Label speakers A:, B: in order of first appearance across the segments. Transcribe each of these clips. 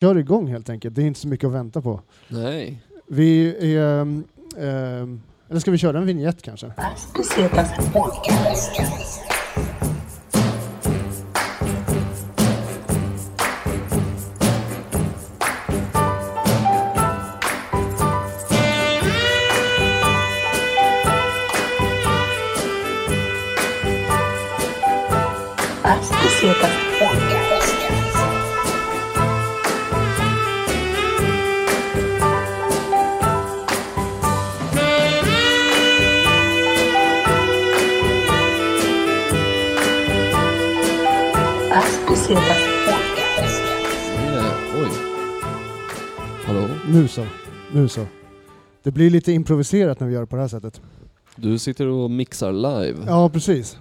A: kör igång helt enkelt. Det är inte så mycket att vänta på.
B: Nej.
A: Vi är... ehm, ehm, eller ska vi köra en vignett kanske?
C: Asbestas podcast. Asbestas podcast.
B: Eh, Oj. Hallå?
A: Nu så. Nu så. Det blir lite improviserat när vi gör det på det här sättet.
B: Du sitter och mixar live.
A: Ja, precis.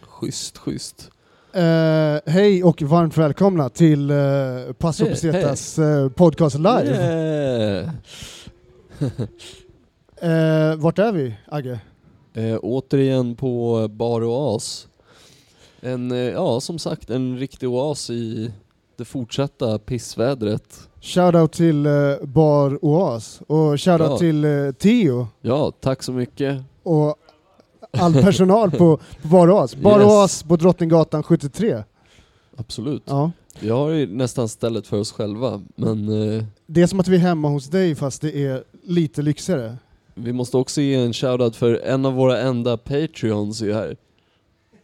B: Schysst, schysst.
A: Eh, hej och varmt välkomna till uh, Passo
B: Hej,
A: Pesetas eh, podcast live.
B: Yeah.
A: Eh, vart är vi, Agge?
B: Eh, återigen på Bar Oas. En, eh, ja som sagt, en riktig oas i det fortsatta pissvädret.
A: Shoutout till eh, Bar Oas och shoutout
B: Ja.
A: till eh, Theo
B: Ja, tack så mycket.
A: och all personal på, på Bar Oas. Bar
B: Yes.
A: Oas på Drottninggatan 73.
B: Absolut.
A: Ja.
B: Vi har ju nästan stället för oss själva, men eh,
A: Det är som att vi är hemma hos dig fast det är lite lyxigare.
B: vi måste också ge en shoutout för en av våra enda Patreons är ju här.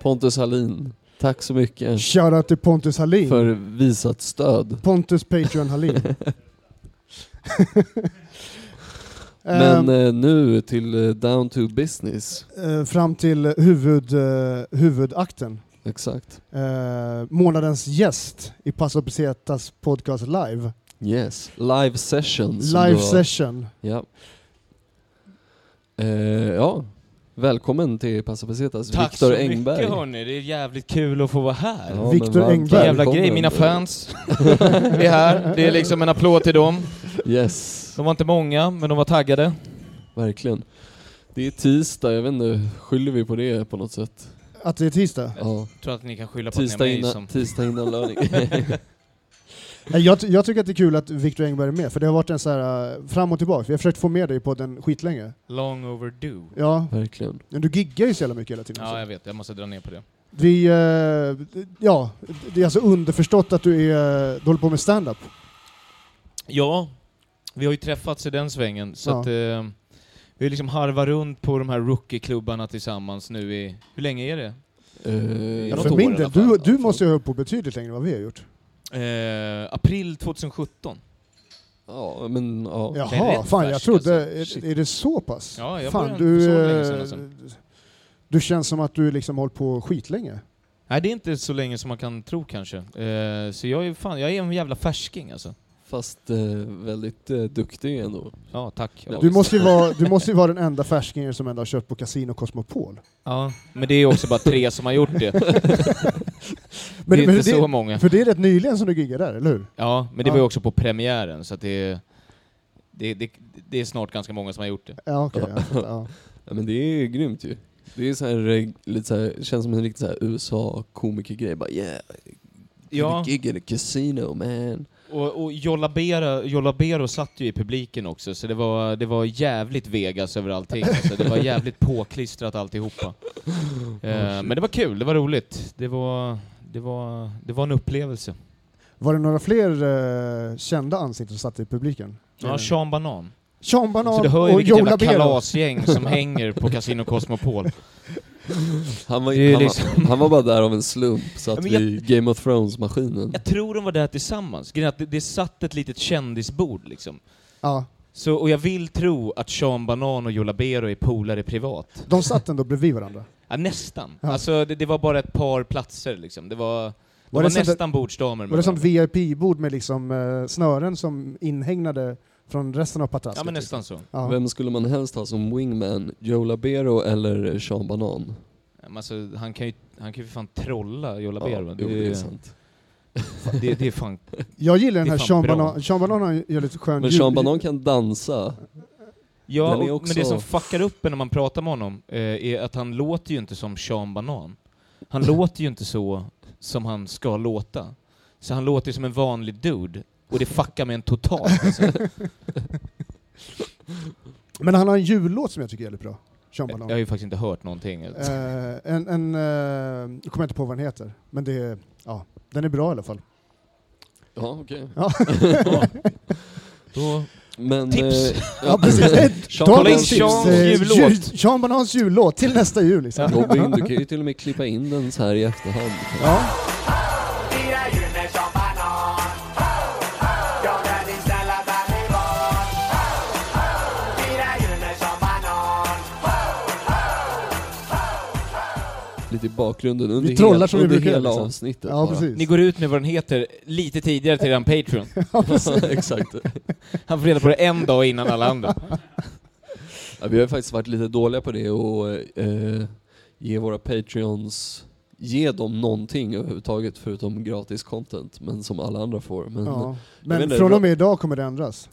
B: Pontus Hallin. Tack så mycket
A: Shoutout till Pontus Hallin.
B: för visat stöd.
A: Pontus Patreon Hallin.
B: Men
A: Ehm,
B: eh, nu till eh, down to business.
A: eh, fram till huvud, eh, huvudakten.
B: Exakt.
A: eh, månadens gäst i Paso Pesetas podcast live.
B: Yes. Live session. som
A: Live
B: det var.
A: session.
B: Ja. Eh, ja. Välkommen till Passa Pesetas,
D: Tack
B: Viktor
D: så
B: Engberg.
D: mycket hörni, det är jävligt kul att få vara här.
B: Ja, men
A: Viktor
B: varmt
A: Engberg.
D: Vilken jävla
B: välkommen.
D: grej, mina fans är här. Det är liksom en applåd till dem.
B: Yes,
D: De var inte många, men de var taggade.
B: verkligen. Det är tisdag, jag vet inte, skyller vi på det på något sätt?
A: Att det är tisdag.
B: Ja.
D: Jag tror att ni kan skylla på att
B: Tisdag,
D: ni är mig
B: innan,
D: som...
B: tisdag innan lördag.
A: Nej, Eh, Jag, ty- jag tycker att det är kul att Viktor Engberg är med, för det har varit en så här eh, fram och tillbaka. Vi har försökt få med dig på den skitlänge.
D: Long overdue.
A: Ja,
B: verkligen.
A: men du giggar ju så jävla mycket hela tiden.
D: Ja, jag
A: också.
D: vet. Jag måste dra ner på det.
A: Vi, eh, ja, det är alltså underförstått att du, är, du håller på med stand-up.
D: Ja, vi har ju träffats i den svängen, så
A: Ja.
D: att... Eh, vi har liksom harvat runt på de här rookieklubbarna tillsammans nu i... Hur länge är det?
B: Eh,
A: Ja,
D: något
A: för
D: år
A: min
D: i
A: del,
D: alla fall.
A: du, du
B: Ja,
A: måste ju ha hållit på betydligt längre än vad vi har gjort.
D: Eh, april 2017.
B: Ja, men ja.
D: det är
A: Jaha,
D: rätt
A: fan jag
D: färskt,
A: trodde...
D: alltså.
A: Är,
D: Shit.
A: är det så pass?
D: Ja, jag
A: fan,
D: började inte så länge sedan,
A: eh,
D: alltså.
A: Du känns som att du liksom hållit på skitlänge.
D: Nej, det är inte så länge som man kan tro kanske. Eh, så jag är fan, jag är en jävla färsking alltså.
B: Fast eh, väldigt eh, duktig ändå.
D: Ja, tack.
B: Ja.
A: Du måste ju vara, du måste ju vara den enda färskingen som ändå har köpt på Casino Cosmopol.
D: Ja, men det är också bara tre som har gjort det. Det
A: Men,
D: är
A: men
D: inte
A: det,
D: så många.
A: För det är rätt nyligen som du giggade där, eller hur?
D: Ja, men det
A: Ja.
D: var ju också på premiären, så att det, det, det, det är snart ganska många som har gjort det.
A: Ja, okej. ja, jag fattar, ja.
B: Ja, men det är grymt ju. Det är så här, eh, lite så här, känns som en riktig så här USA-komikergrej. Bara yeah,
D: Ja,
B: gig at a casino man.
D: och, och Jollabera, Jollabero satt ju i publiken också, så det var, det var jävligt Vegas över allting. Alltså, det var jävligt påklistrat alltihopa. Eh, men det var kul, det var roligt. Det var, det var, det var en upplevelse.
A: Var det några fler eh, kända ansikten som satt i publiken?
D: Ja, Sean Banan.
A: Sean
D: Så
A: Banan
D: du hör ju
A: och
D: vilket
A: Joe
D: jävla
A: Labero.
D: kalasgäng som hänger på Casino Cosmopol.
B: Han var,
D: Det är
B: han,
D: liksom-
B: var, han var bara där av en slump, så att
D: men jag-
B: vi Game of Thrones-maskinen.
D: Jag tror de var där tillsammans. Grejen är att det, det satt ett litet kändisbord liksom.
A: Ja,
D: Så, och jag vill tro att Sean Banan och Joe Labero är polare privat.
A: de satt ändå bredvid varandra.
D: Ja, nästan.
A: Ja.
D: Alltså, det, det var bara ett par platser liksom. Det var, de
A: Var
D: var,
A: det sånt där-
D: nästan bordsdamer.
A: Var det
D: med
A: sånt
D: varandra.
A: VIP-bord med liksom eh, snören som inhägnade från resten av patrasket?
D: Ja, men nästan så.
A: Ja.
B: Vem skulle man helst ha som wingman? Joe Labero eller Sean Banan?
D: Ja, men Alltså, han kan ju han kan ju för fan trolla Joe Labero.
B: jo,
D: det,
B: det är
D: är-
B: sant.
D: det, det är fan...
A: Jag gillar den
D: Det är
A: här
D: fan
A: Sean
D: bra.
A: Banan. Sean Banan har ju gör lite skön
B: Men
A: ljud-
B: Sean Banan kan dansa.
D: Ja,
B: Den är
D: och-
B: också-
D: men det som fuckar upp en när man pratar med honom eh, är att han låter ju inte som Sean Banan. Han låter ju inte så som han ska låta. Så han låter ju som en vanlig dude. Och det fuckar med en totalt. Alltså.
A: Men han har en jullåt som jag tycker är jävligt bra. Sean
D: Jag
A: Banan.
D: har ju faktiskt inte hört någonting.
A: Eh, en, en, eh, jag kommer inte på vad den heter, men det är, ja, den är bra i alla fall.
B: Ja, okej.
A: Ja.
D: Då,
B: Men...
D: Tips!
B: eh,
A: Ja, precis. Eh, ta
B: Sean Banan-
D: Kolla in
A: tips.
D: Seans
A: Eh,
D: jullåt.
A: ju- Sean Banans jullåt till nästa jul. Liksom.
B: Robin, du kan ju till och med klippa in den så här i efterhand.
A: Ja.
E: Det är ju när som banan Ja, när ni snälla bär mig barn Det är ju när som banan
B: Lite i bakgrunden under,
A: Vi trollar
B: hela-
A: som vi
B: under
A: brukar,
B: hela
A: liksom.
B: avsnittet.
A: Ja,
B: bara.
A: precis.
D: ni går ut med vad den heter lite tidigare till den Patreon.
B: Exakt.
D: Han får reda på det en dag innan alla andra.
B: Ja, vi har ju faktiskt varit lite dåliga på det och eh, ge våra patreons Ge dem någonting överhuvudtaget förutom gratis content, men som alla andra får. Men, ja.
A: Ja. Men
B: vet inte,
A: från
B: Ro-
A: och med idag kommer det ändras.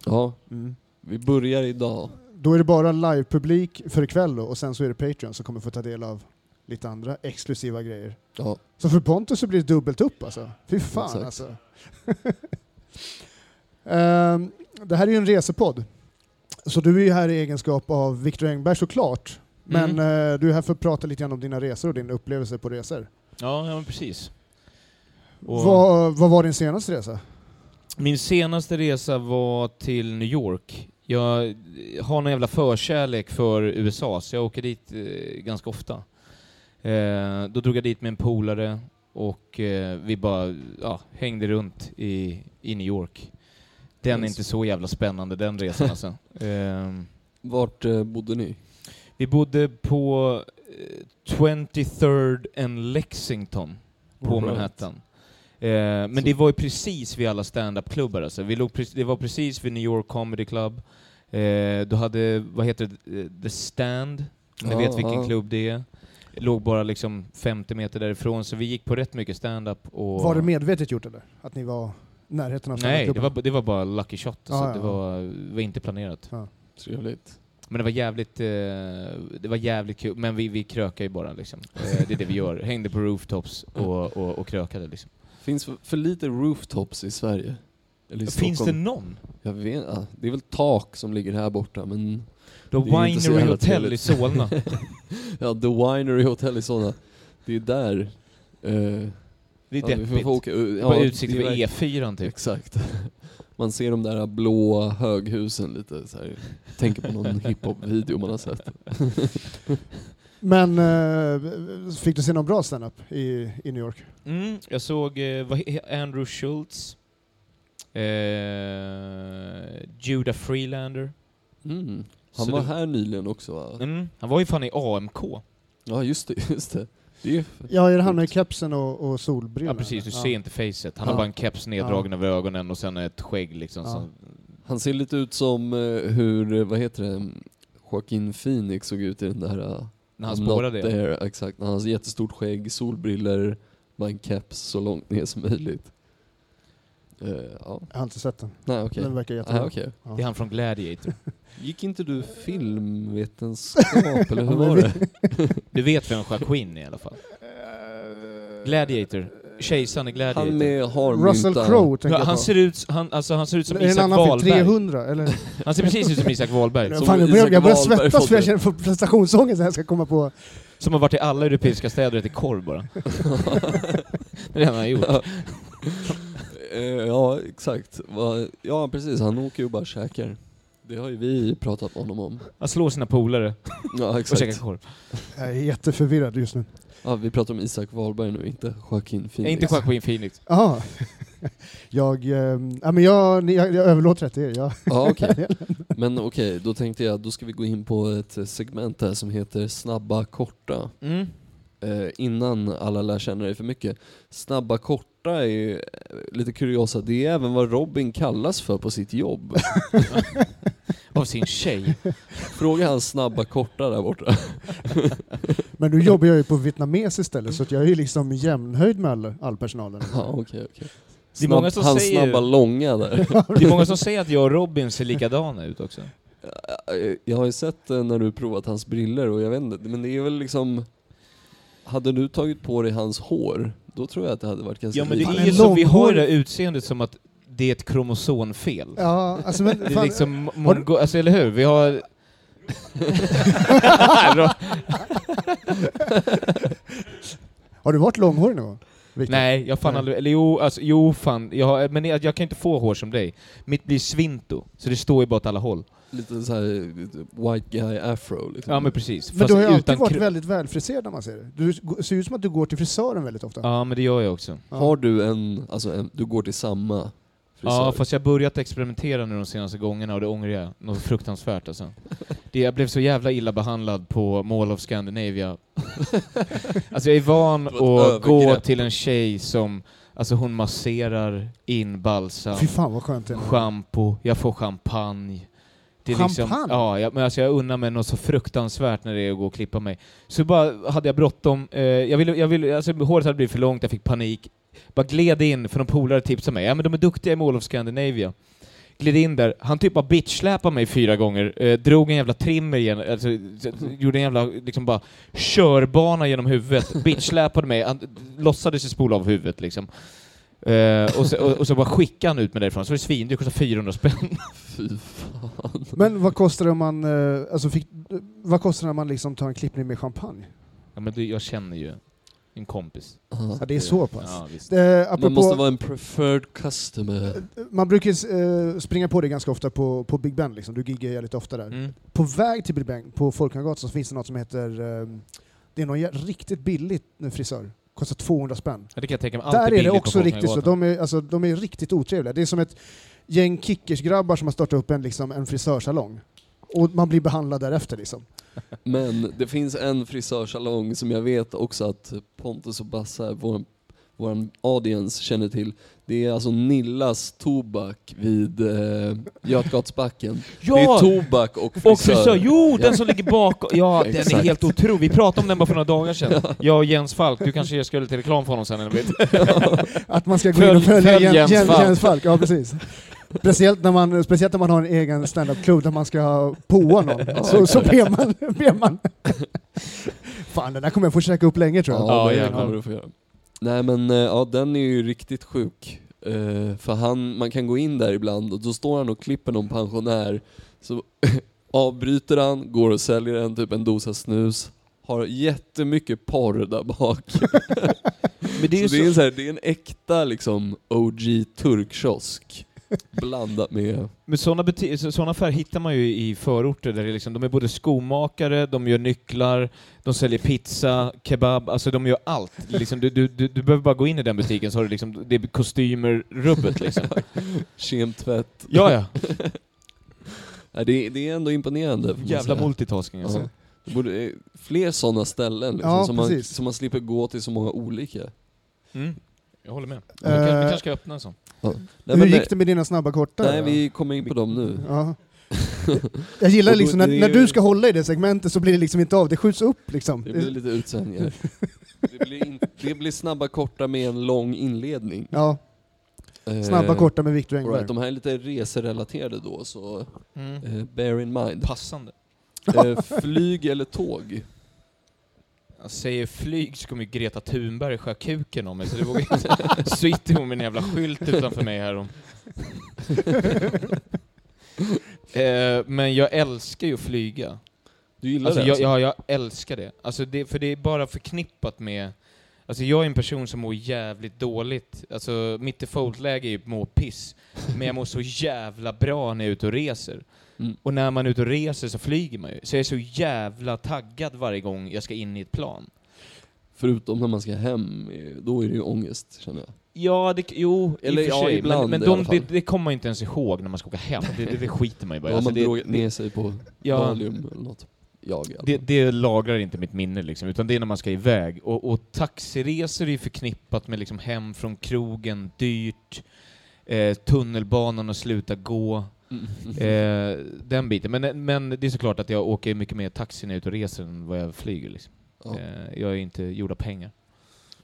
A: Mm.
B: vi börjar idag.
A: Då är det bara livepublik för ikväll då, och sen så är det Patreon som kommer få ta del av lite andra exklusiva grejer.
B: Ja.
A: Så för Pontus så blir det dubbelt upp alltså. Fy fan
B: Exakt.
A: alltså. Ehm, det här är ju en resepodd. Så du är ju här i egenskap av Viktor Engberg såklart. Men
D: Mm.
A: eh, du är här för att prata lite grann om dina resor och din upplevelse på resor.
D: Ja, ja men precis. Och
A: Vad, vad var din senaste resa?
D: Min senaste resa var till New York. Jag har någon jävla förkärlek för USA, så jag åker dit eh, ganska ofta. Eh, då drog jag dit med en polare och eh, vi bara ja, hängde runt i, i New York. Den är
B: Yes.
D: inte så jävla spännande, den resan alltså. Ehm,
B: Vart eh, bodde ni?
D: vi bodde på eh, 23rd and Lexington på
B: Alright.
D: Manhattan. Eh, men
B: Så-
D: det var ju precis vid alla stand-up-klubbar alltså. Vi låg pre- det var precis vid New York Comedy Club. Eh, då hade, vad heter det, eh, The Stand, om ni
B: Ja,
D: vet vilken
B: ja.
D: klubb det är. Låg bara liksom 50 meter därifrån, så vi gick på rätt mycket stand-up och...
A: Var det medvetet gjort eller? Att ni var i närheten av
D: Nej, det
A: standupklubben?
D: var, det var bara lucky shot. Alltså.
A: Ja, ja,
D: Det
A: ja.
D: var, var inte planerat.
B: Trevligt.
D: Men det var jävligt, eh, det var jävligt kul. Men vi, vi krökade ju bara liksom. Eh, det är det vi gör. Hängde på rooftops och, och, och krökade liksom.
B: Finns för, för lite rooftops i Sverige? Eller i
D: Finns det
B: Stockholm?
D: någon?
B: Jag vet ja, Det är väl tak som ligger här borta, men...
D: The
B: Det är ju inte så
D: Winery
B: jävla
D: Hotel i
B: trevligt.
D: Solna.
B: Ja, The Winery Hotel i sådana. Det är där... eh,
D: Det
B: ja,
D: är
B: vi får
D: deppigt.
B: få åka,
D: Det
B: ja,
D: är bara utsikt
B: det är
D: över
B: verkligen-
D: E4 typ.
B: Exakt. Man ser de där blåa höghusen lite så här. Tänker på någon hiphop-video man har sett.
A: Men eh, fick du se någon bra standup i, i New York?
D: Mm, jag såg eh, vad he- Andrew Schultz, eh, Judah Freelander.
B: Mm. Han
D: Så
B: var
D: det-
B: här nyligen också va?
D: Mm, han var ju fan i AMK.
B: Ja just det, just det. det är ju f-
A: Ja, är det han med kepsen och, och solbrillorna?
D: Ja precis, du
A: eller?
D: ser inte facet. Han
A: Ja.
D: har bara en keps neddragen över ögonen och sen ett skägg liksom.
A: Ja.
D: som-
B: han ser lite ut som eh, hur, eh, vad heter det, Joaquin Phoenix såg ut i den där... eh,
D: När han
B: I'm
D: spårade
B: Not
D: det.
B: There, exakt. Han har så jättestort skägg, solbriller bara en keps så långt ner som möjligt. Eh, ja,
A: Jag har inte sett den.
B: nej okej.
A: Den verkar
B: Ah,
A: jättebra.
B: okej.
D: Det är han från Gladiator.
B: Gick inte
D: Eh.
B: du filmvetenskap eller hur var det?
D: Du vet vem Jacquin är i alla fall? Eh, Gladiator. Kejsaren i Gladiator.
B: Han med harmynta...
A: Russell Crowe tänker
D: ja,
A: jag
D: han,
A: på.
D: ser ut, han, alltså, han ser ut som
A: är det en
D: Isak
A: annan film?
D: Wahlberg.
A: 300? Eller?
D: Han ser precis ut som Isak Wahlberg.
B: Som
A: Fan, jag börjar,
B: Isak
A: jag börjar
B: Wahlberg
A: svettas för jag
B: fått
A: känner för prestationsångest när jag ska komma på...
D: Som har varit i alla europeiska städer och ätit korv bara. det är det han har gjort.
B: Eh, ja, exakt. Va- Ja, precis. Han åker ju bara och käkar. Det har ju vi pratat med honom om.
D: Han slår sina polare
B: Ja,
D: och käkar
B: exakt.
D: korv.
A: Jag är jätteförvirrad just nu.
B: Ja, vi pratar om Isak Wahlberg nu, inte Joaquin
D: Nej,
B: Phoenix.
D: inte Joaquin Phoenix.
A: Jaha. Jag, ehm, ja, men jag, ni- jag, jag överlåter det till er. Jag,
B: Ja, okej. Men okej, då tänkte jag då ska vi gå in på ett eh, segment här som heter Snabba korta.
D: Mm.
B: Eh, innan alla lär känna dig för mycket. Snabba korta är ju eh, lite kuriosa. Det är även vad Robin kallas för på sitt jobb.
D: Av sin tjej.
B: Fråga han snabba korta där borta.
A: men nu jobbar jag ju på vietnames istället så att jag är ju liksom i jämnhöjd med all, all personalen.
B: Ja, okej, okej.
D: Det är många
B: Snabb-
D: som
B: han
D: säger-
B: snabba långa där.
D: Det är många som säger att jag och Robin ser likadana ut också.
B: Eh, Jag har ju sett eh, när du provat hans briller och jag vet inte, men det är väl liksom... Hade du tagit på dig hans hår, då tror jag att det hade varit ganska
D: Ja men det
B: likt.
A: Fan,
D: är
A: en
D: ju som, vi har
A: långhårig-
D: ju det här utseendet som att det är ett kromosomfel.
A: Ja, alltså men
D: Det är
A: fan,
D: liksom mongo... Alltså eller hur? Vi har... Bra.
A: Har du varit långhårig någon gång? Victor?
D: Nej, jag fan
A: Nej.
D: aldrig... Eller jo, alltså, jo fan. Jag har, men jag, jag kan inte få hår som dig. Mitt blir svinto, så det står ju bara åt alla håll.
B: Lite så här lite white guy afro liksom.
D: Ja men precis.
A: Men du har ju alltid varit
D: kru-
A: väldigt välfriserad när man ser det. Du g- ser ut som att du går till frisören väldigt ofta.
D: Ja men det gör jag också.
B: Har du en, alltså en, du går till samma frisör?
D: Ja, fast jag har börjat experimentera nu de senaste gångerna och det ångrar jag något fruktansvärt alltså. det, Jag blev så jävla illa behandlad på Mall of Scandinavia. alltså jag är van
B: Det var ett
D: att gå
B: övergrepp.
D: till en tjej som, alltså hon masserar in balsam,
A: Fy fan vad skönt det är.
D: schampo, jag får champagne. Det är Liksom,
A: Champagne?
D: ja, jag, men alltså jag unnar mig något så fruktansvärt när det är att gå och klippa mig. Så bara hade jag bråttom, eh, jag ville, jag ville, alltså håret hade blivit för långt, jag fick panik. Bara gled in, för de polare tipsade mig, ja men de är duktiga i Mall of Scandinavia. Gled in där, han typ bara bitchsläpade mig fyra gånger, eh, drog en jävla trimmer igen, alltså, s- gjorde en jävla liksom bara körbana genom huvudet, bitchsläpade mig, han låtsades ju spola av huvudet liksom. Eh, och, så, och, och så bara skickade han ut mig därifrån, så var det svindyrt, kostade 400 spänn.
B: Fy fan.
A: Men vad kostar det om man, eh, alltså fick, eh, vad kostar det när man liksom tar en klippning med champagne?
D: Ja, men du, jag känner ju en kompis.
A: Ja, det är så pass.
D: Ja, visst.
A: Eh, apropå,
B: Man måste vara en preferred customer.
A: man brukar eh, springa på det ganska ofta på, på Big Ben, liksom. du giggar jävligt ofta där.
D: Mm.
A: På väg till Big Ben, på Folkungagatan, så finns det något som heter, eh, det är någon jä- riktigt billigt eh, frisör, kostar 200 spänn.
D: Ja, det kan jag tänka mig. Allt
A: Där är det
D: billigt på
A: också riktigt så.
D: Folkungagatan.
A: De är, alltså, de är riktigt otrevliga. Det är som ett gäng kickersgrabbar som har startat upp en, liksom, en frisörsalong. Och man blir behandlad därefter liksom.
B: Men det finns en frisörsalong som jag vet också att Pontus och Bassa, vår, vår audience, känner till. Det är alltså Nillas Tobak vid eh, Götgatsbacken. Det är
D: Ja!
B: tobak och frisör.
D: Och frisör, jo! Den
B: Ja.
D: som ligger bakom. Ja, den är
B: Exakt.
D: helt otrolig. Vi pratade om den bara för några dagar sedan. Jag och Jens Falk, du kanske ska lite reklam för honom sen eller vet.
A: Att man ska gå in och
D: Följ-
A: följa
D: följ
A: Jens,
D: Jens
A: Jens, Jens,
D: Falk.
A: Falk. Ja, precis. Speciellt när, man, speciellt när man har en egen standup-klubb där man ska påa någon. Så, så ber man. Ber man. Fan, den där kommer jag få käka upp länge tror jag.
B: Ja,
D: Ja,
B: det
D: jävlar.
B: kommer du få göra. Nej men eh, ja, den är ju riktigt sjuk. Eh, För han, man kan gå in där ibland och då står han och klipper någon pensionär. Så avbryter han, går och säljer en typ en dosa snus. Har jättemycket porr där bak.
D: Men det är ju
B: så det, är
D: så,
B: en så här, det är en äkta liksom OG turkkiosk. Blandat med...
D: men sådana, buti- så, sådana affärer hittar man ju i förorter där det liksom, de är både skomakare, de gör nycklar, de säljer pizza, kebab, alltså de gör allt. Liksom, du, du, du, du behöver bara gå in i den butiken så har du liksom, det är kostymer, rubbet liksom.
B: kemtvätt.
D: Ja, ja.
B: Nej, det, det är ändå imponerande. får man
D: Jävla
B: säga.
D: multitasking alltså.
B: Ja. Det borde, eh, fler sådana ställen liksom,
A: Ja,
B: som, man,
A: precis.
B: som man slipper gå till så många olika.
D: Mm. Jag håller med. Vi
A: Eh,
D: kanske, vi kanske ska öppna en sån.
B: Nej,
A: Hur
B: men,
A: gick det med dina snabba korta?
B: Nej, vi kommer in på dem nu.
A: Ja. Jag gillar
B: Och då-
A: liksom när,
B: det är
A: när
B: ju-
A: du ska hålla i det segmentet så blir det liksom inte av, det skjuts upp liksom.
B: Det blir lite utsändningar. Det blir, in, det blir snabba korta med en lång inledning.
A: Ja,
B: Eh,
A: snabba korta med Viktor
B: all
A: Engberg.
B: Right, de här är lite reserelaterade då, så
D: Mm.
B: eh, bear in mind.
D: Passande.
B: Eh, flyg eller tåg?
D: Jag säger flyg så kommer ju Greta Thunberg skära kuken om mig, så det vågar jag inte. Sitter hon med en jävla skylt utanför mig här om. eh, men jag älskar ju att flyga.
B: Du gillar
D: Alltså,
B: det?
D: jag,
B: alltså?
D: ja, jag älskar det. Alltså det. För det är bara förknippat med... Alltså jag är en person som mår jävligt dåligt. Alltså mitt defaultläge är ju att må piss. Men jag mår så jävla bra när jag är ute och reser.
B: Mm.
D: Och när man är ute och reser så flyger man ju. Så jag är så jävla taggad varje gång jag ska in i ett plan.
B: Förutom när man ska hem, eh, då är det ju ångest känner jag.
D: Ja, det, jo,
B: Eller
D: i och för
B: ja,
D: sig.
B: ibland i
D: men men de,
B: alla fall.
D: det, det kommer man inte ens ihåg när man ska åka hem. Det, det, det skiter man ju bara i.
B: Då har
D: Alltså,
B: man
D: det,
B: dragit ner sig på
D: Ja.
B: Valium eller något. Jag i alla
D: Det,
B: fall.
D: det lagrar inte mitt minne liksom, utan det är när man ska iväg. Och, och taxiresor är ju förknippat med liksom hem från krogen, dyrt, eh, tunnelbanan och sluta gå,
B: Mm.
D: eh, den biten. Men, men det är såklart att jag åker mycket mer taxi när jag är ute och reser än vad jag flyger. Liksom.
B: Ja.
D: Eh, jag är inte gjord av pengar.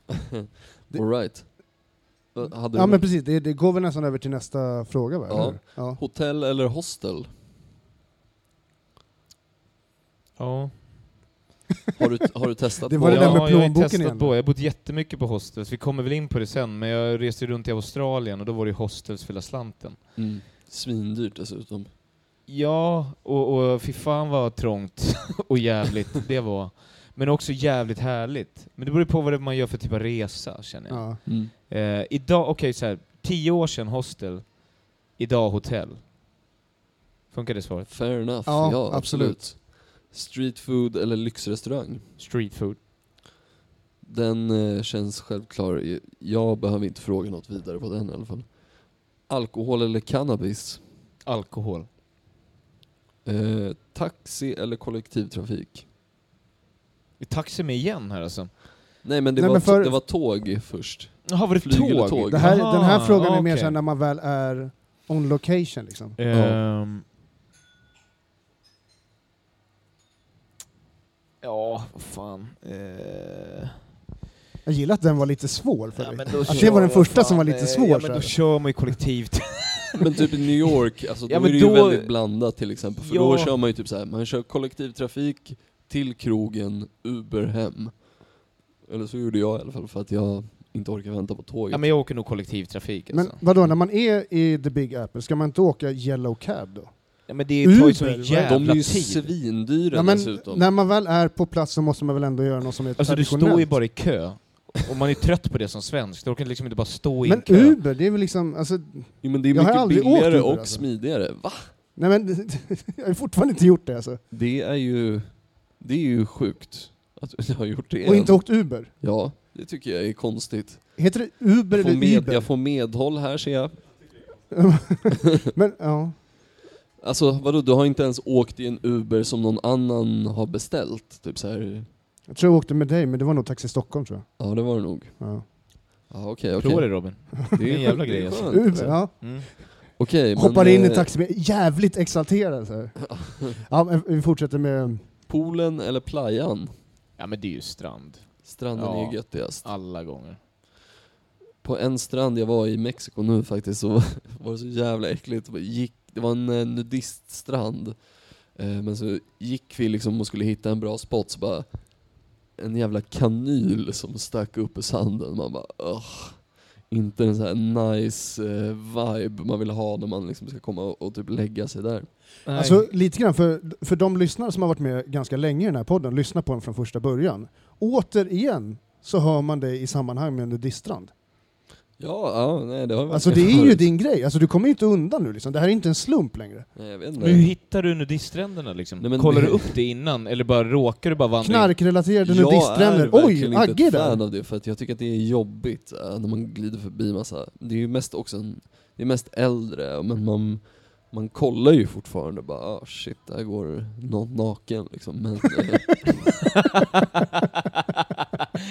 D: eh.
B: All right. Vad Hade
A: Ja
B: du
A: men precis, det, det går väl nästan över till nästa fråga va?
B: Ja.
A: eller? ja.
B: Hotell eller hostel?
D: Ja.
B: Har du, har du testat
A: Det
B: på
A: var det där med
D: ja, jag har ju
A: plånboken
D: testat
A: igen.
D: på. Jag har bott jättemycket på hostels. Vi kommer väl in på det sen, men jag reste ju runt i Australien och då var det ju hostels för hela slanten.
B: Mm. Svindyrt dessutom.
D: Ja, och, och fy fan vad trångt och jävligt det var. Men också jävligt härligt. Men det beror ju på vad det är man gör för typ av resa, känner jag.
A: Ja.
B: Mm.
D: Eh, idag, okej så här, tio år sedan hostel, idag hotell. Funkar det svaret?
B: Fair enough.
A: Ja,
B: Ja, absolut. Street food eller lyxrestaurang?
D: Street food.
B: Den eh, känns självklar. Jag behöver inte fråga något vidare på den i alla fall. Alkohol eller cannabis?
D: Alkohol.
B: Eh, taxi eller kollektivtrafik?
D: Vi taxi med igen här alltså.
B: Nej men det,
A: Nej,
B: var,
A: men för-
B: det var tåg först.
D: Jaha, var det
B: Flyg eller
D: tåg?
B: tåg?
A: Det här,
D: Aha,
A: den här frågan är mer
D: okej.
A: såhär när man väl är on location liksom.
D: Ehm. Ja, vad fan. Eh,
A: Jag gillar att den var lite svår för
D: ja,
A: dig.
D: men då
A: Att det
D: kör
A: var den
D: jag
A: första
D: fan,
A: som var lite
D: eh,
A: svår
D: Ja,
A: så
D: men då
A: här.
D: kör man ju kollektivt.
B: Men typ i New York, alltså, då
D: Ja,
B: är
D: men
B: det
D: då-
B: ju väldigt blandat till exempel. För då
D: Ja.
B: kör man ju typ så här, man kör kollektivtrafik till krogen, Uber hem. Eller så gjorde jag i alla fall för att jag inte orkar vänta på tåget.
D: ja, men jag åker nog kollektivtrafik alltså.
A: Men
D: Men,
A: vadå, när man är i the big apple, ska man inte åka yellow cab då?
D: ja, men det tar ju
A: Uber,
D: sån
A: vad-
B: De
D: jävla
B: är ju
D: tid.
B: svindyra
A: Ja, men
B: dessutom.
A: när man väl är på plats så måste man väl ändå göra något som är
D: Alltså du
A: traditionellt?
D: står ju bara i kö. Och man är trött på det som svensk, då orkar liksom inte bara stå i en
A: men
D: kö.
A: Uber, det är väl liksom, alltså,
B: Jo, men det är
A: Jag har
B: mycket
A: aldrig åkt
B: billigare
A: Uber,
B: och
A: alltså.
B: smidigare. Va?
A: nej men jag har fortfarande inte gjort det alltså.
B: Det är ju, det är ju sjukt att jag har gjort det.
A: Och
B: än.
A: inte åkt Uber.
B: Ja, det tycker jag är konstigt.
A: Heter det Uber
B: Jag får,
A: eller
B: med,
A: Uber?
B: jag får medhåll här ser jag.
A: Men, ja.
B: Alltså vadå, du har inte ens åkt i en Uber som någon annan har beställt? Typ så här.
A: Jag tror jag åkte med dig, men det var nog Taxi Stockholm tror
B: ja det var det nog.
A: jag. Ja.
B: Ja okej, okej.
D: Prova det Robin.
B: Det
D: är en jävla
B: det
D: grej,
B: är
D: alltså.
B: skönt,
A: Uber, ja.
D: Mm.
B: Okej, men,
A: Hoppar in i
B: eh,
A: taxi, jävligt exalterad så här. Ja, men vi fortsätter med...
B: eh, Poolen eller playan?
D: Ja men det är ju strand.
B: Stranden
D: Ja.
B: är ju göttigast.
D: Alla gånger.
B: På en strand jag var i Mexiko nu faktiskt så var det så jävla äckligt. Det Gick, det var en eh, nudiststrand. Eh, Men så gick vi liksom och skulle hitta en bra spot så bara en jävla kanyl som stack upp ur sanden. Man bara Ugh. Inte en sån här nice eh, vibe man vill ha när man liksom ska komma och, och typ lägga sig där.
A: Alltså lite grann, för, för de lyssnare som har varit med ganska länge i den här podden, lyssna på den från första början. Återigen så hör man dig i sammanhang med en nudiststrand.
B: Ja, ja nej det har jag
A: Alltså det
B: verkligen
A: är ju
B: hört.
A: din grej, alltså du kommer ju inte undan nu liksom. Det här är inte en slump längre.
B: Nej, jag vet
D: Men hur
B: inte.
D: hittar du nudiststränderna liksom?
B: Nej, men-
D: Kollar du upp det innan, eller bara råkar du bara vandra in?
A: Knarkrelaterade nudiststränder.
B: Jag är
A: Oj,
B: verkligen inte
A: Agge
B: ett
A: där!
B: fan av det för att jag tycker att det är jobbigt eh, när man glider förbi massa. Det är ju mest också en, det är mest äldre men man, man kollar ju fortfarande bara ah shit där går någon naken liksom. Men, eh,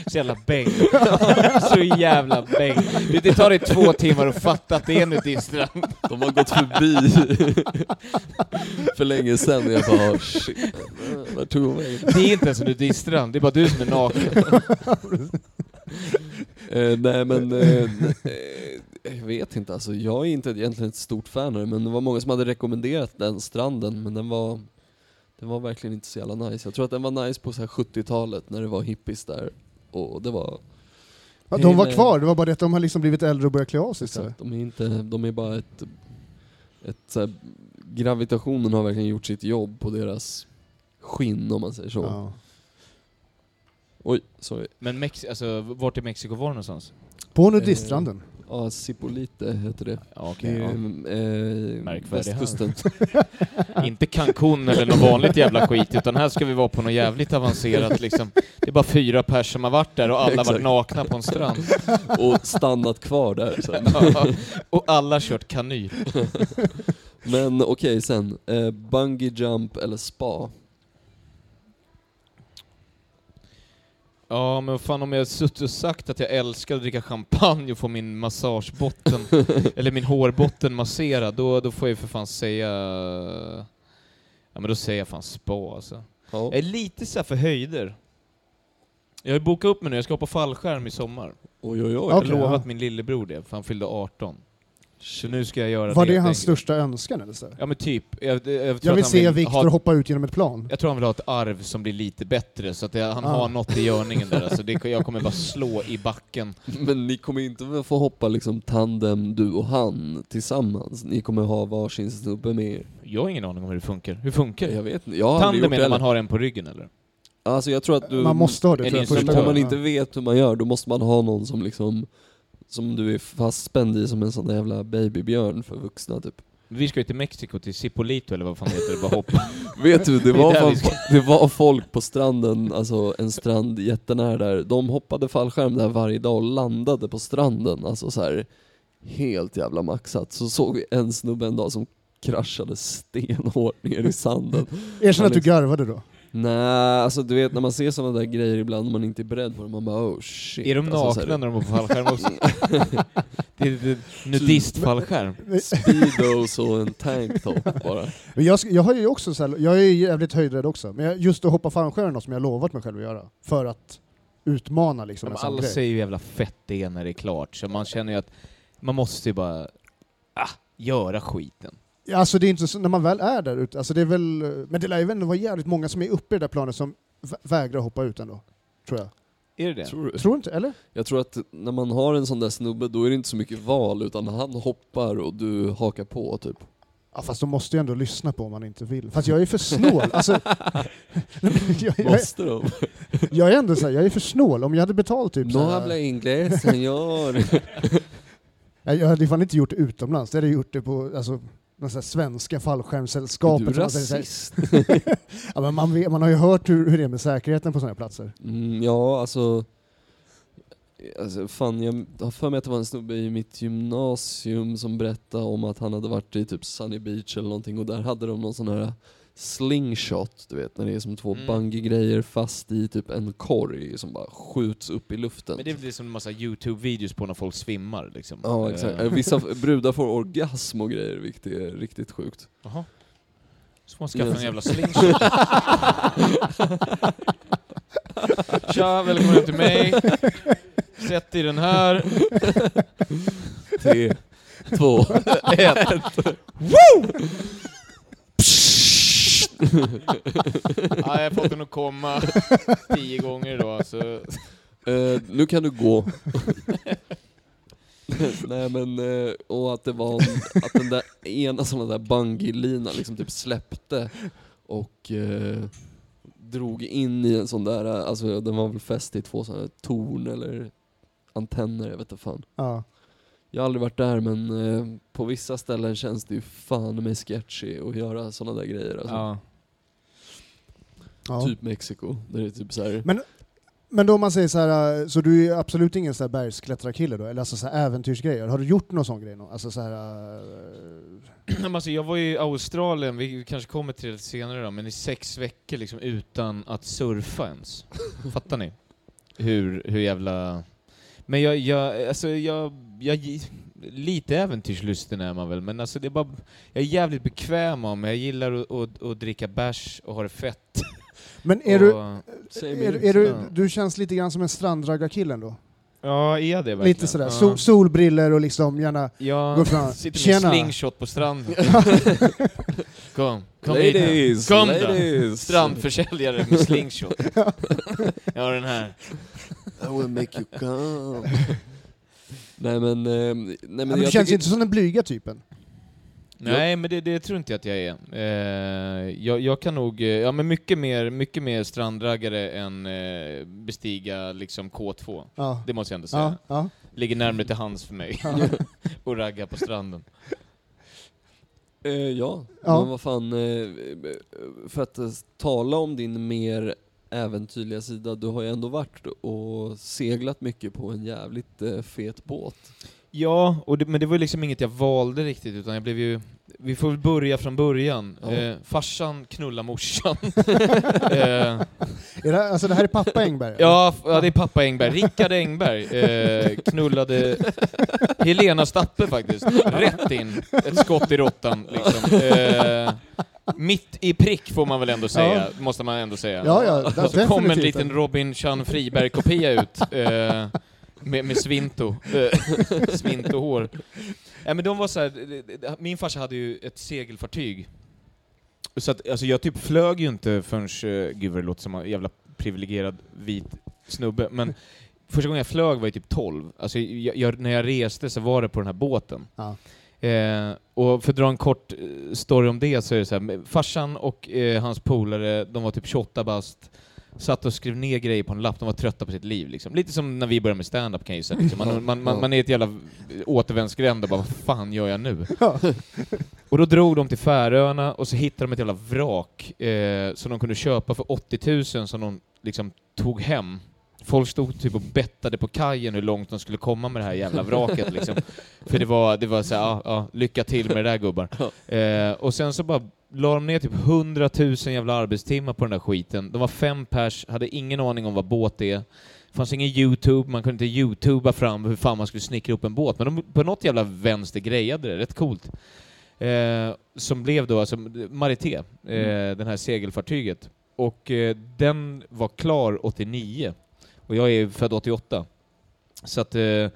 D: Så jävla bäng. Så jävla bäng. Det- Det tar dig två timmar att fatta att det är en nudiststrand.
B: de har gått förbi för länge sedan och jag bara ah shit, eh, vart tog de vägen?
D: Det är inte ens en nudiststrand, det är bara du som är naken.
B: Eh, nej men, eh, eh, jag vet inte alltså. Jag är inte egentligen ett stort fan av det, men det var många som hade rekommenderat den stranden, men den var den var verkligen inte så jävla nice. Jag tror att den var nice på så här 70-talet när det var hippies där. Och det var...
A: Ja, de var kvar, det var bara det att de har liksom blivit äldre och börjat klä av sig istället.
B: eh, Exakt, de är inte, de är bara ett... ett så här, gravitationen har verkligen gjort sitt jobb på deras skinn om man säger så.
A: Ja.
B: Oj, sorry.
D: Men Mex- alltså, vart i Mexiko var du någonstans?
A: På
B: Eh,
A: nudiststranden.
B: Ja, Cipolite heter det.
D: Ja,
B: Det
D: okej.
B: är eh,
D: Märkvärdig
B: västkusten.
D: ja. Inte Cancun eller något vanligt jävla skit, utan här ska vi vara på något jävligt avancerat liksom. Det är bara fyra pers som har varit där och alla har varit
B: Exakt.
D: nakna på en strand.
B: Och stannat kvar där sen.
D: Ja, och alla har kört kanyl.
B: Men okej sen, eh, bungee jump eller spa?
D: Ja, men fan om jag suttit och sagt att jag älskar att dricka champagne och få min massagebotten, eller min hårbotten masserad, då, då får jag ju för fan säga... Ja men då säger jag fan spa alltså.
B: Ja.
D: Jag är lite såhär för höjder. Jag har ju bokat upp mig nu, jag ska hoppa fallskärm i sommar.
B: Oj oj oj.
D: Jag har
A: Okej,
D: lovat
A: ja.
D: min lillebror det, för han fyllde 18. Så nu ska jag göra
A: Var
D: det
A: det
D: helt
A: hans
D: enkelt.
A: största önskan eller så?
D: Ja men typ. Jag, jag, jag, tror
A: Jag
D: att
A: vill
D: han
A: se
D: vill
A: Viktor
D: ha,
A: hoppa ut genom ett plan.
D: Jag tror han vill ha ett arv som blir lite bättre, så att det, han
A: Ah.
D: har något i görningen där. Alltså det, jag kommer bara slå i backen.
B: Men ni kommer inte få hoppa liksom tandem, du och han, tillsammans. Ni kommer ha varsin snubbe med er.
D: Jag har ingen aning om hur det funkar. Hur funkar det?
B: Jag vet inte, jag har aldrig
D: Tandem
B: gjort
D: menar
B: det
D: man
B: man
D: har en på ryggen eller?
B: Alltså jag tror att du...
A: Man måste ha det
D: en
A: tror jag,
B: Men
A: första
D: instruktör.
B: om man
A: gången.
B: inte vet hur man gör, då måste man ha någon som liksom... Som du är fastspänd i som en sån där jävla babybjörn för vuxna typ.
D: Vi ska ju till Mexiko, till Cipolito eller vad fan det heter det? Bara hoppa.
B: Vet du, det
D: Det är
B: var,
D: där vi
B: fan, det var folk på stranden, alltså en strand jättenära där. De hoppade fallskärm där varje dag och landade på stranden. Alltså så här helt jävla maxat. Så såg vi en snubbe en dag som kraschade stenhårt ner i sanden.
A: Erkänn att du garvade då.
B: Nej, alltså du vet när man ser sådana där grejer ibland och man inte är beredd på det, man bara oh shit.
D: Är de
B: Alltså, så här,
D: nakna när de är på fallskärm också? det är ett nudistfallskärm.
B: Speedos och en tanktop bara.
A: Men jag, sk- jag, har ju också så här, jag är ju jävligt höjdrädd också, men jag, just att hoppa fallskärm är något som jag lovat mig själv att göra. För att utmana liksom en
D: Men
A: sån
D: alla
A: grej.
D: säger ju hur jävla fett det är när det är klart, så man känner ju att man måste ju bara ah, göra skiten.
A: Ja, Alltså det är inte så, när man väl är där ute, alltså det är väl, men det lär ju ändå vara jävligt många som är uppe i det där planet som vä- vägrar hoppa ut ändå. Tror jag.
D: Är det det?
B: Tror du?
A: Tror du inte, eller?
B: Jag tror att när man har en sån där snubbe då är det inte så mycket val utan han hoppar och du hakar på typ.
A: Ja fast de måste ju ändå lyssna på om man inte vill. Fast jag är för snål. Alltså, jag, jag, jag,
B: Måste de?
A: jag är ändå så här, jag är för snål. Om jag hade betalt typ så
B: No habla
A: här,
B: inglés señor.
A: jag, jag hade fan inte gjort det utomlands. Jag hade gjort det på alltså, någon så här svenska
B: Är du
A: fallskärmssällskapet. som man säger så här-
B: rasist?
A: Ja, men man, vet, man har ju hört hur, hur det är med säkerheten på sådana här platser.
B: Mm, ja, alltså... Alltså fan, jag har för mig att det var en snubbe i mitt gymnasium som berättade om att han hade varit i typ Sunny Beach eller någonting och där hade de någon sån här slingshot, du vet när det är som två
D: Mm.
B: bungee-grejer fast i typ en korg som bara skjuts upp i luften.
D: Men det är väl som en massa YouTube-videos på när folk svimmar liksom.
B: Ja exakt,
D: Eh,
B: vissa brudar får orgasm och grejer vilket är riktigt sjukt.
D: Jaha. Så får man skaffa
B: Yes.
D: en jävla slingshot. Tja, välkommen hem till mig. Sätt dig i den här.
B: Tre, två, ett.
D: Ah, jag har fått den att komma tio gånger idag. Så.
B: Eh, nu kan du gå. Nej men, eh, och att det var en, att den där ena sån där bungee-linan liksom typ släppte och eh, drog in i en sån där, eh, alltså den var väl fäst i två såna här torn eller antenner, jag vet inte fan.
A: Ja.
B: Jag har aldrig varit där men eh, på vissa ställen känns det ju fan mig sketchy att göra såna där grejer alltså.
D: Ja.
A: Ja.
B: Typ Mexiko, där det är typ så här.
A: Men- Men då om man säger så här, äh, så du är absolut ingen så här bergsklättrarkille då? Eller alltså så här äventyrsgrejer? Har du gjort någon sån grej? Någon? Alltså så här, äh,
D: Men Alltså, jag var ju i Australien, vi kanske kommer till det senare då, men i sex veckor liksom utan att surfa ens. Fattar ni? Hur, hur jävla... Men jag, jag, alltså jag, jag, lite äventyrslusten är man väl, men alltså det är bara, jag är jävligt bekväm av mig, jag gillar att, att, att dricka bärs och ha det fett.
A: men är,
D: och,
A: du,
B: Säg
A: är,
B: mig.
A: är du,
D: Ja.
A: du känns lite grann som en strandraggarkille ändå?
D: Ja, är jag det verkligen?
A: Lite sådär, sol,
D: Ja.
A: solbriller och liksom gärna... Gå
D: Jag
A: fram.
D: sitter med en
A: Tjena.
D: slingshot på stranden. kom, kom hit.
B: ladies,
D: Kom då.
B: ladies!
D: Strandförsäljare med slingshot. Jag har den här.
B: I will make you come. nej men, eh, nej men,
A: Men ja, men du
B: jag
A: känns ju
B: tycker-
A: inte som den blyga typen.
D: Nej, men det, det tror inte jag att jag är. Eh, jag, jag kan nog, eh, ja men mycket mer, mycket mer strandraggare än eh, bestiga liksom K2.
A: Ja.
D: Det måste jag ändå säga.
A: Ja, ja.
D: Ligger närmare till hands för mig. och ragga på stranden.
B: Eh, ja.
A: Ja.
B: men vad fan. Eh, för att eh, tala om din mer äventyrliga sida, du har ju ändå varit och seglat mycket på en jävligt eh, fet båt.
D: Ja, och det, men det var ju liksom inget jag valde riktigt, utan jag blev ju... Vi får väl börja från början.
B: Ja.
D: Eh, farsan knullar morsan. eh,
A: Är det, alltså det här är pappa Engberg?
D: Ja, f- ja, det är pappa Engberg. Rickard Engberg eh, knullade Helena Stappe faktiskt. Rätt in. Ett skott i råttan liksom. Eh, mitt i prick får man väl ändå säga, måste man ändå säga.
A: Ja, ja,
D: Och så kom en
A: definitivt.
D: liten Robin Chan Friberg-kopia ut. Eh, med, med svinto. Eh, svintohår. Nej, men de var så här, det- det- det- min farsa hade ju ett segelfartyg. Så att, alltså jag typ flög ju inte förrän, eh, gud vad det låter som en jävla privilegierad vit snubbe, men första gången jag flög var jag typ 12. Alltså jag, jag, när jag reste så var det på den här båten.
A: Ja.
D: Eh, och för att dra en kort eh, story om det så är det så här, med- farsan och eh, hans polare, de var typ 28 bast, satt och skrev ner grejer på en lapp, de var trötta på sitt liv liksom. Lite som när vi började med stand-up kan jag gissa. Liksom. Man, man, man, man är i ett jävla återvändsgränd och bara vad fan gör jag nu?
A: Ja.
D: Och då drog de till Färöarna och så hittade de ett jävla vrak eh, som de kunde köpa för 80 000 som de liksom tog hem. Folk stod typ och bettade på kajen hur långt de skulle komma med det här jävla vraket liksom. För det var, det var såhär, ja, ja, lycka till med det där gubbar. Eh, och sen så bara la de ner typ 100 000 jävla arbetstimmar på den där skiten. De var fem pers, hade ingen aning om vad båt är. fanns ingen Youtube, man kunde inte youtuba fram hur fan man skulle snickra upp en båt. Men de, på något jävla vänster grejade det, rätt coolt. Eh, som blev då alltså Marité, eh, den här segelfartyget. Och eh, den var klar 89. Och jag är född 88. Så att eh,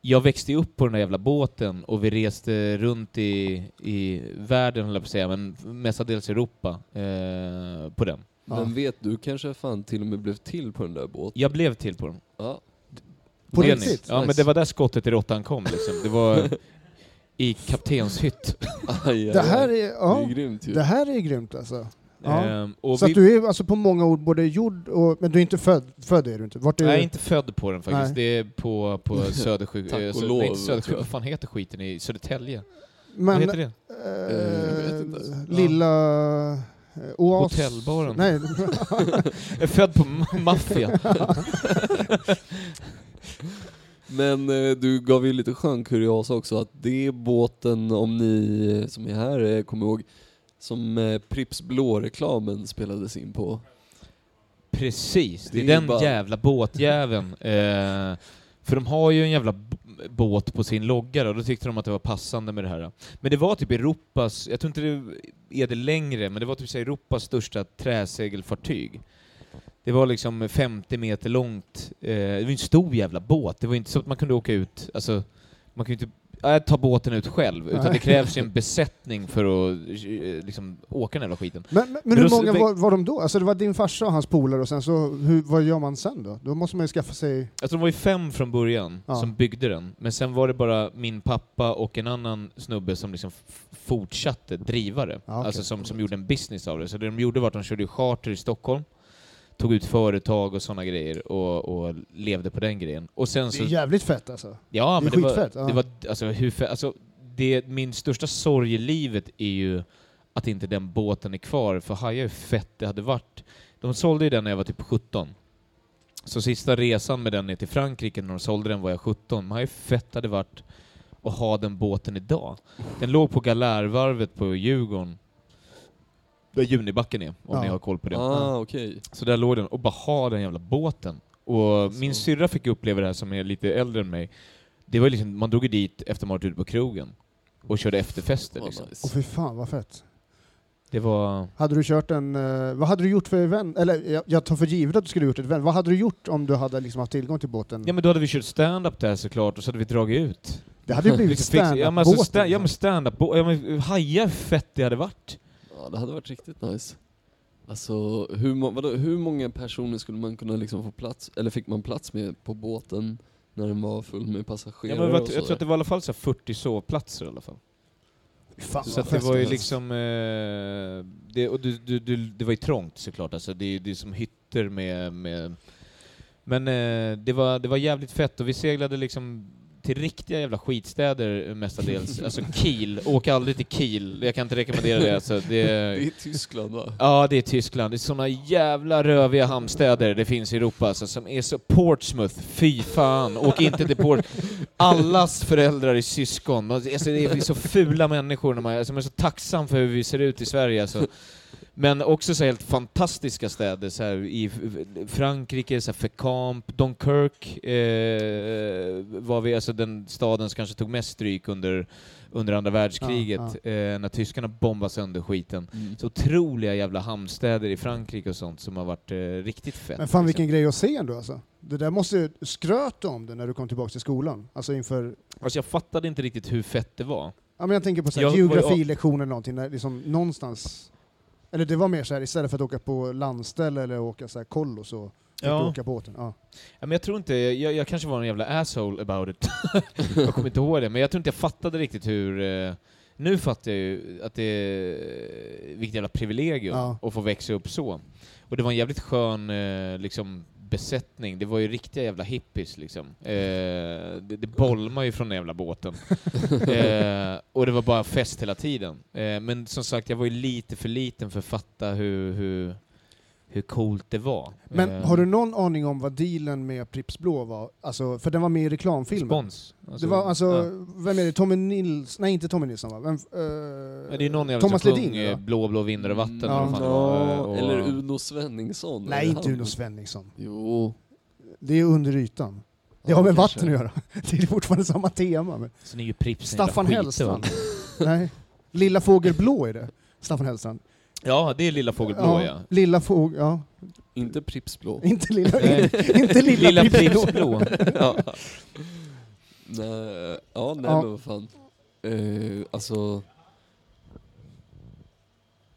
D: jag växte upp på den där jävla båten och vi reste runt i, i världen, höll jag på att säga, men mestadels Europa eh, på den.
B: Men vet du kanske fan till och med blev till på den där båten?
D: Jag blev till på den.
B: Ja.
A: På
D: Blev
A: riktigt?
D: ni? Ja, men
B: Nice.
D: det var där skottet i råttan kom liksom. Det var i kaptenshytt.
B: Aj, aj,
A: Det här
B: aj.
A: är,
B: det
A: ja,
B: är grymt ju.
A: det här är grymt alltså. Ja.
D: Ehm, och
A: Så
D: vi-
A: att du är alltså på många ord både jord och... Men du är inte född? Född är du inte? Vart är
D: Nej,
A: du?
D: inte född på den faktiskt.
A: Nej.
D: Det är på, på Södersjuk...
B: Tack
D: eh,
B: och
D: Sö-
B: lov,
D: nej, inte
B: tror
D: Södersjuk.
B: jag.
D: Vad fan heter skiten i Södertälje?
A: men,
D: Vad heter det?
A: eh,
B: Jag vet inte.
A: lilla... eh, Oas...
D: Hotellbaren.
A: Nej.
D: Jag är född på ma- maffia.
B: Men eh, du gav ju lite skön kuriosa också att det är båten, om ni eh, som är här eh, kommer ihåg, som eh, Pripps Blå-reklamen spelades in på.
D: Precis, det är
B: Det är
D: den
B: bara-
D: jävla båtjäveln. Eh, för de har ju en jävla b- båt på sin logga då, då tyckte de att det var passande med det här. Men det var typ Europas, jag tror inte det är det längre, men det var typ så här Europas största träsegelfartyg. Det var liksom 50 meter långt. Eh, det var ju en stor jävla båt, det var ju inte så att man kunde åka ut, alltså man kunde ju inte äh, ta båten ut själv, utan
A: Nej.
D: det krävs ju en besättning för att eh, liksom, åka den jävla skiten.
A: Men, men, men
D: då
A: hur
D: så-
A: många var, var de då? Alltså det var din farsa och hans polare och sen så, hur, vad gör man sen då? Då måste man ju skaffa sig...
D: Alltså de var ju fem från början
A: Ja.
D: som byggde den, men sen var det bara min pappa och en annan snubbe som liksom f- fortsatte driva det.
A: Ja, okej.
D: Alltså som, som gjorde en business av det. Så det de gjorde var att de körde charter i Stockholm, tog ut företag och sådana grejer och, och levde på den grejen. Och sen
A: Det
D: så...
A: är jävligt fett alltså.
D: Ja,
A: det är
D: men det var,
A: skitfett, ja.
D: det var alltså, hur fett, alltså, det, min största sorg i livet är ju att inte den båten är kvar, för haja hur fett det hade varit. De sålde ju den när jag var typ 17. Så sista resan med den ner till Frankrike när de sålde den var jag 17. Men haja hur fett det hade varit att ha den båten idag. Den låg på Galärvarvet på Djurgården, där Junibacken är, om
A: Ja.
D: ni har koll på det.
B: Ah, okej.
D: Så där låg den och bara ha den jävla båten. Och
A: Alltså.
D: min
B: Så.
D: syrra fick uppleva det här som är lite äldre än mig. Det var ju liksom, man drog ju dit efter man varit ute på krogen och körde efterfester liksom.
B: Vad nice.
A: Åh fy fan vad fett.
D: Det var...
A: Hade du kört en... eh, vad hade du gjort för event? Eller jag, jag tar för givet att du skulle gjort ett event. Vad hade du gjort om du hade liksom haft tillgång till båten?
D: Ja men då hade vi kört stand-up där såklart och så hade vi dragit ut.
A: det hade ju blivit
D: Liksom fix- ja, men
A: standup-båten. liksom.
D: alltså, sta- ja men stand-up, ja, men haja hur fett det hade varit.
B: Ja, det hade varit riktigt nice. Alltså, hur, må- vadå, hur många personer skulle man kunna liksom få plats, eller fick man plats med på båten när den var full med
D: Ja,
B: passagerare
D: men
B: och
D: jag, jag
B: sådär?
D: tror att det var i alla fall så här 40 sovplatser i alla fall.
A: Fan,
D: Så
A: vad
D: att det
A: fett
D: var ju
A: alltså.
D: liksom... Eh, det, och du, du, du, det var ju trångt såklart, alltså, det, är- det är som hytter med... med men eh, det, var, det var jävligt fett och vi seglade liksom till riktiga jävla skitstäder eh, mestadels. alltså Kiel, åk aldrig till Kiel, jag kan inte rekommendera det. Alltså,
B: Det
D: det
B: är Tyskland va?
D: Ja, det är Tyskland. Det är såna jävla röviga hamnstäder det finns i Europa alltså, som är så... Portsmouth, fy fan, åk inte till Portsmouth. Allas föräldrar är syskon. Alltså, det är så fula människor. När man, alltså, man är så tacksam för hur vi ser ut i Sverige. Alltså. Men också så helt fantastiska städer, så här, i F- F- Frankrike, så här, Fécamp, Dunkirk eh, var vi, alltså den staden som kanske tog mest stryk under, under andra världskriget, Eh, när tyskarna bombade sönder skiten. Mm.
B: Mm.
D: Så otroliga jävla hamnstäder i Frankrike och sånt som har varit eh, riktigt fett.
A: Men fan
D: liksom.
A: vilken grej att se ändå alltså. Det där måste ju skröt om det när du kom tillbaka till skolan. Alltså inför,
D: Alltså jag fattade inte riktigt hur fett det var.
A: ja men jag tänker på så här,
D: Jag-
A: geografilektioner eller någonting, när liksom någonstans, eller det var mer så här istället för att åka på landställe eller åka så här kollo så fick
D: Ja.
A: du åka båten. Ja.
D: Ja, men jag tror inte, jag, jag kanske var en jävla asshole about it. jag kommer inte ihåg det, men jag tror inte jag fattade riktigt hur... eh, Nu fattar jag ju att det är... Vilket jävla privilegium
A: Ja.
D: att få växa upp så. Och det var en jävligt skön eh, liksom, besättning. Det var ju riktiga jävla hippies liksom. Eh, det, det bolmar ju från den jävla båten. eh, och det var bara fest hela tiden. Eh, men som sagt, jag var ju lite för liten för att fatta hur, hur, hur coolt det var.
A: Men
D: Eh,
A: har du någon aning om vad dealen med Pripps Blå var? Alltså, för den var med i reklamfilmen.
D: Spons. Alltså,
A: det var alltså,
D: ja.
A: vem är det? Tommy Nils... Nej, inte Tommy Nilsson va? Vem, eh,
D: Ja, det är någon jävla
A: Thomas
D: som
A: Ledin
D: sjöng, eh,
A: va?
D: Blå blå vind och vatten.
A: Ja.
D: eller vad fan det var,
B: Mm.
D: Eh,
B: Ja,
D: och-
B: eller Uno Svenningsson.
A: Nej,
B: Eller
A: inte
B: han-
A: Uno Svenningsson.
B: Jo.
A: Det är under ytan. Det
B: Ja,
A: har med
B: kanske.
A: vatten att göra. Det är fortfarande samma tema. Men.
D: Sen är ju Pripps en
A: Staffan
D: jävla skit, va?
A: Hellstrand. Nej. Lilla Fågel Blå är det. Staffan Hellstrand.
D: Ja, det är Lilla Fågel Blå ja.
A: Lilla Fågel... Ja.
B: Inte Pripps Blå.
A: Inte Lilla...
D: Nej.
A: inte Lilla,
D: Lilla
A: Pripps
D: Pripps
A: Blå.
D: Blå.
B: ja. Nej, ja, nej
A: Ja.
B: men vad fan. Eh, alltså...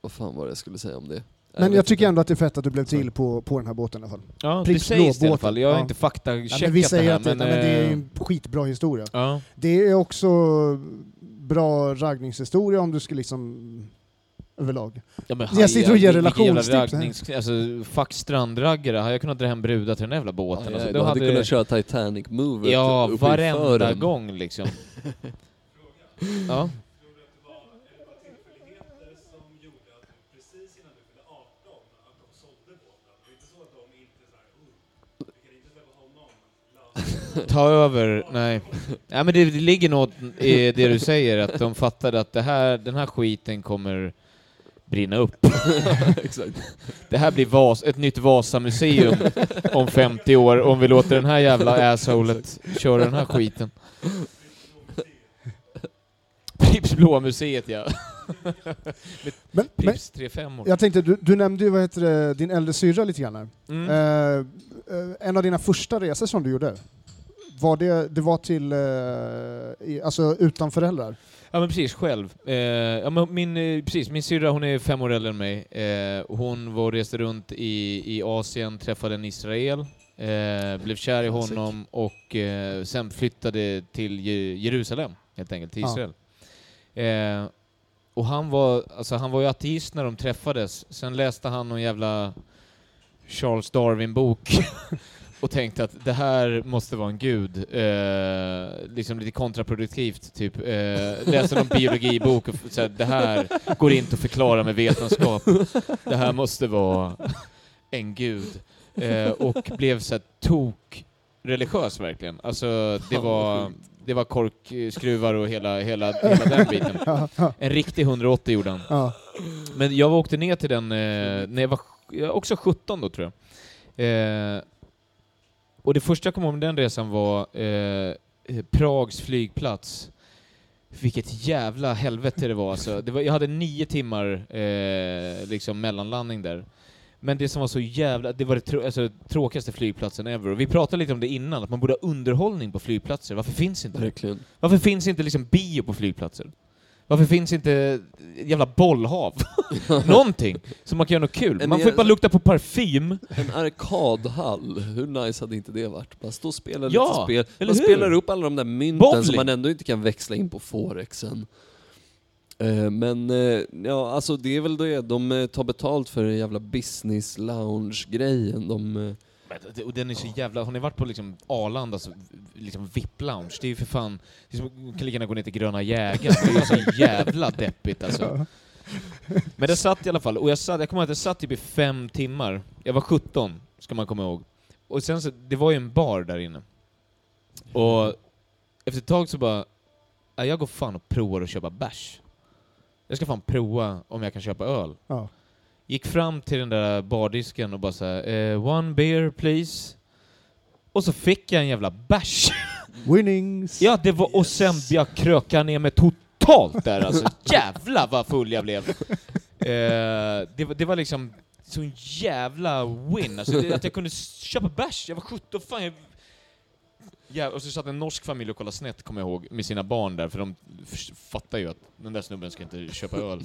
B: Vad fan var det jag skulle säga om det? Nej,
A: Men jag
B: vet
A: tycker
B: inte.
A: ändå att det är fett att du blev till på, på den här båten i alla fall.
D: Ja, det
A: Pripps
D: sägs det i alla
A: Blå-båten.
D: fall. Jag har
A: Ja.
D: inte
A: Ja,
D: faktacheckat
A: men vi säger
D: det här,
A: att det, men, det är ju
D: eh,
A: en skitbra historia.
D: Ja,
A: Det är också bra raggningshistoria om du ska liksom överlag.
D: Ja, men
A: Jag sitter och ger
D: vilken jävla
A: relationstips här.
D: raggnings- Alltså, fuck strandraggare, hade jag kunnat dra hem brudar till den jävla båten?
B: Ja,
D: alltså,
B: ja,
D: då
B: du hade
D: det-
B: kunnat köra Titanic-movet
D: Ja,
B: uppe i
D: varenda
B: fören.
D: gång liksom. ja. Ta över, nej. Nej men det, det ligger något i det du säger, att de fattade att det här, den här skiten kommer brinna upp.
B: Exakt.
D: Det här blir Vas, ett nytt Vasamuseum om 50 år om vi låter den här jävla assholet köra den här skiten. Pripps Blåa Museet ja.
A: Men, men
D: Pripps 35 år.
A: jag tänkte, du, du nämnde ju vad heter det, din äldre syrra lite grann här.
D: Mm.
A: Eh, eh, en av dina första resor som du gjorde, var det, det var till, eh, i, alltså utan föräldrar?
D: Ja men precis, själv. Eh, ja, men min, eh, precis, min syrra hon är fem år äldre än mig. Eh, hon var och reste runt i, i Asien, träffade en Israel, eh, blev kär i honom och eh, sen flyttade till Je- Jerusalem, helt enkelt, till
A: Ja.
D: Israel. Eh, och han var, alltså, han var ju ateist när de träffades, sen läste han någon jävla Charles Darwin-bok och tänkte att det här måste vara en gud. Eh, liksom lite kontraproduktivt, typ. Eh, läser någon biologibok och f- så här, det här går inte att förklara med vetenskap. Det här måste vara en gud. Eh, och blev så här, tok religiös verkligen. Alltså det
B: Fan, vad
D: var, det var korkskruvar och hela, hela, hela den biten. En riktig 180 gjorde han.
A: Ja.
D: Men jag åkte ner till den eh, när jag var jag var också 17 då tror jag. Eh, och det första jag kom ihåg med den resan var eh, Prags flygplats. Vilket jävla helvete det var alltså. Det var, jag hade nio timmar eh, liksom mellanlandning där. Men det som var så jävla, det var det trå- alltså, tråkigaste flygplatsen ever. Och vi pratade lite om det innan, att man borde ha underhållning på flygplatser. Varför finns inte det?
B: Verkligen.
D: Varför finns inte liksom bio på flygplatser? Varför finns inte jävla bollhav? Någonting som man kan göra något kul.
B: Men
D: Man
B: jag-
D: får ju bara lukta på parfym.
B: En arkadhall, hur nice hade inte det varit? Bara stå och spela
D: Ja,
B: lite spel.
D: eller
B: Man
D: hur?
B: spelar upp alla de där mynten
D: Bowling.
B: som man ändå inte kan växla in på forexen. Eh, Men eh, ja, alltså det är väl det, de eh, tar betalt för den jävla business lounge-grejen. De, eh,
D: Men- Och den är så jävla... Har ni varit på liksom Arlanda, så, liksom VIP-lounge? Det är ju för fan... Det är som, man kan lika gärna gå ner till Gröna Jägaren. Det är ju så jävla deppigt alltså. Men där satt i alla fall, och jag, satt, jag kommer ihåg att jag satt typ i fem timmar. Jag var 17, ska man komma ihåg. Och sen så, det var ju en bar där inne. Och efter ett tag så bara, "Nej, jag går fan och provar att köpa bärs. Jag ska fan prova om jag kan köpa öl.
A: Ja.
D: gick fram till den där bardisken och bara såhär, eh, one beer please. Och så fick jag en jävla bärs.
A: Winnings!
D: Ja, det var, och sen jag krökade ner mig totalt där alltså. Jävlar vad full jag blev! Eh, det, var- det var liksom sån jävla win, alltså, det, att jag kunde s- köpa bärs, jag var 17, fan jag... Ja, och så satt en norsk familj och kollade snett, kommer jag ihåg, med sina barn där, för de f- fattar ju att den där snubben ska inte köpa öl.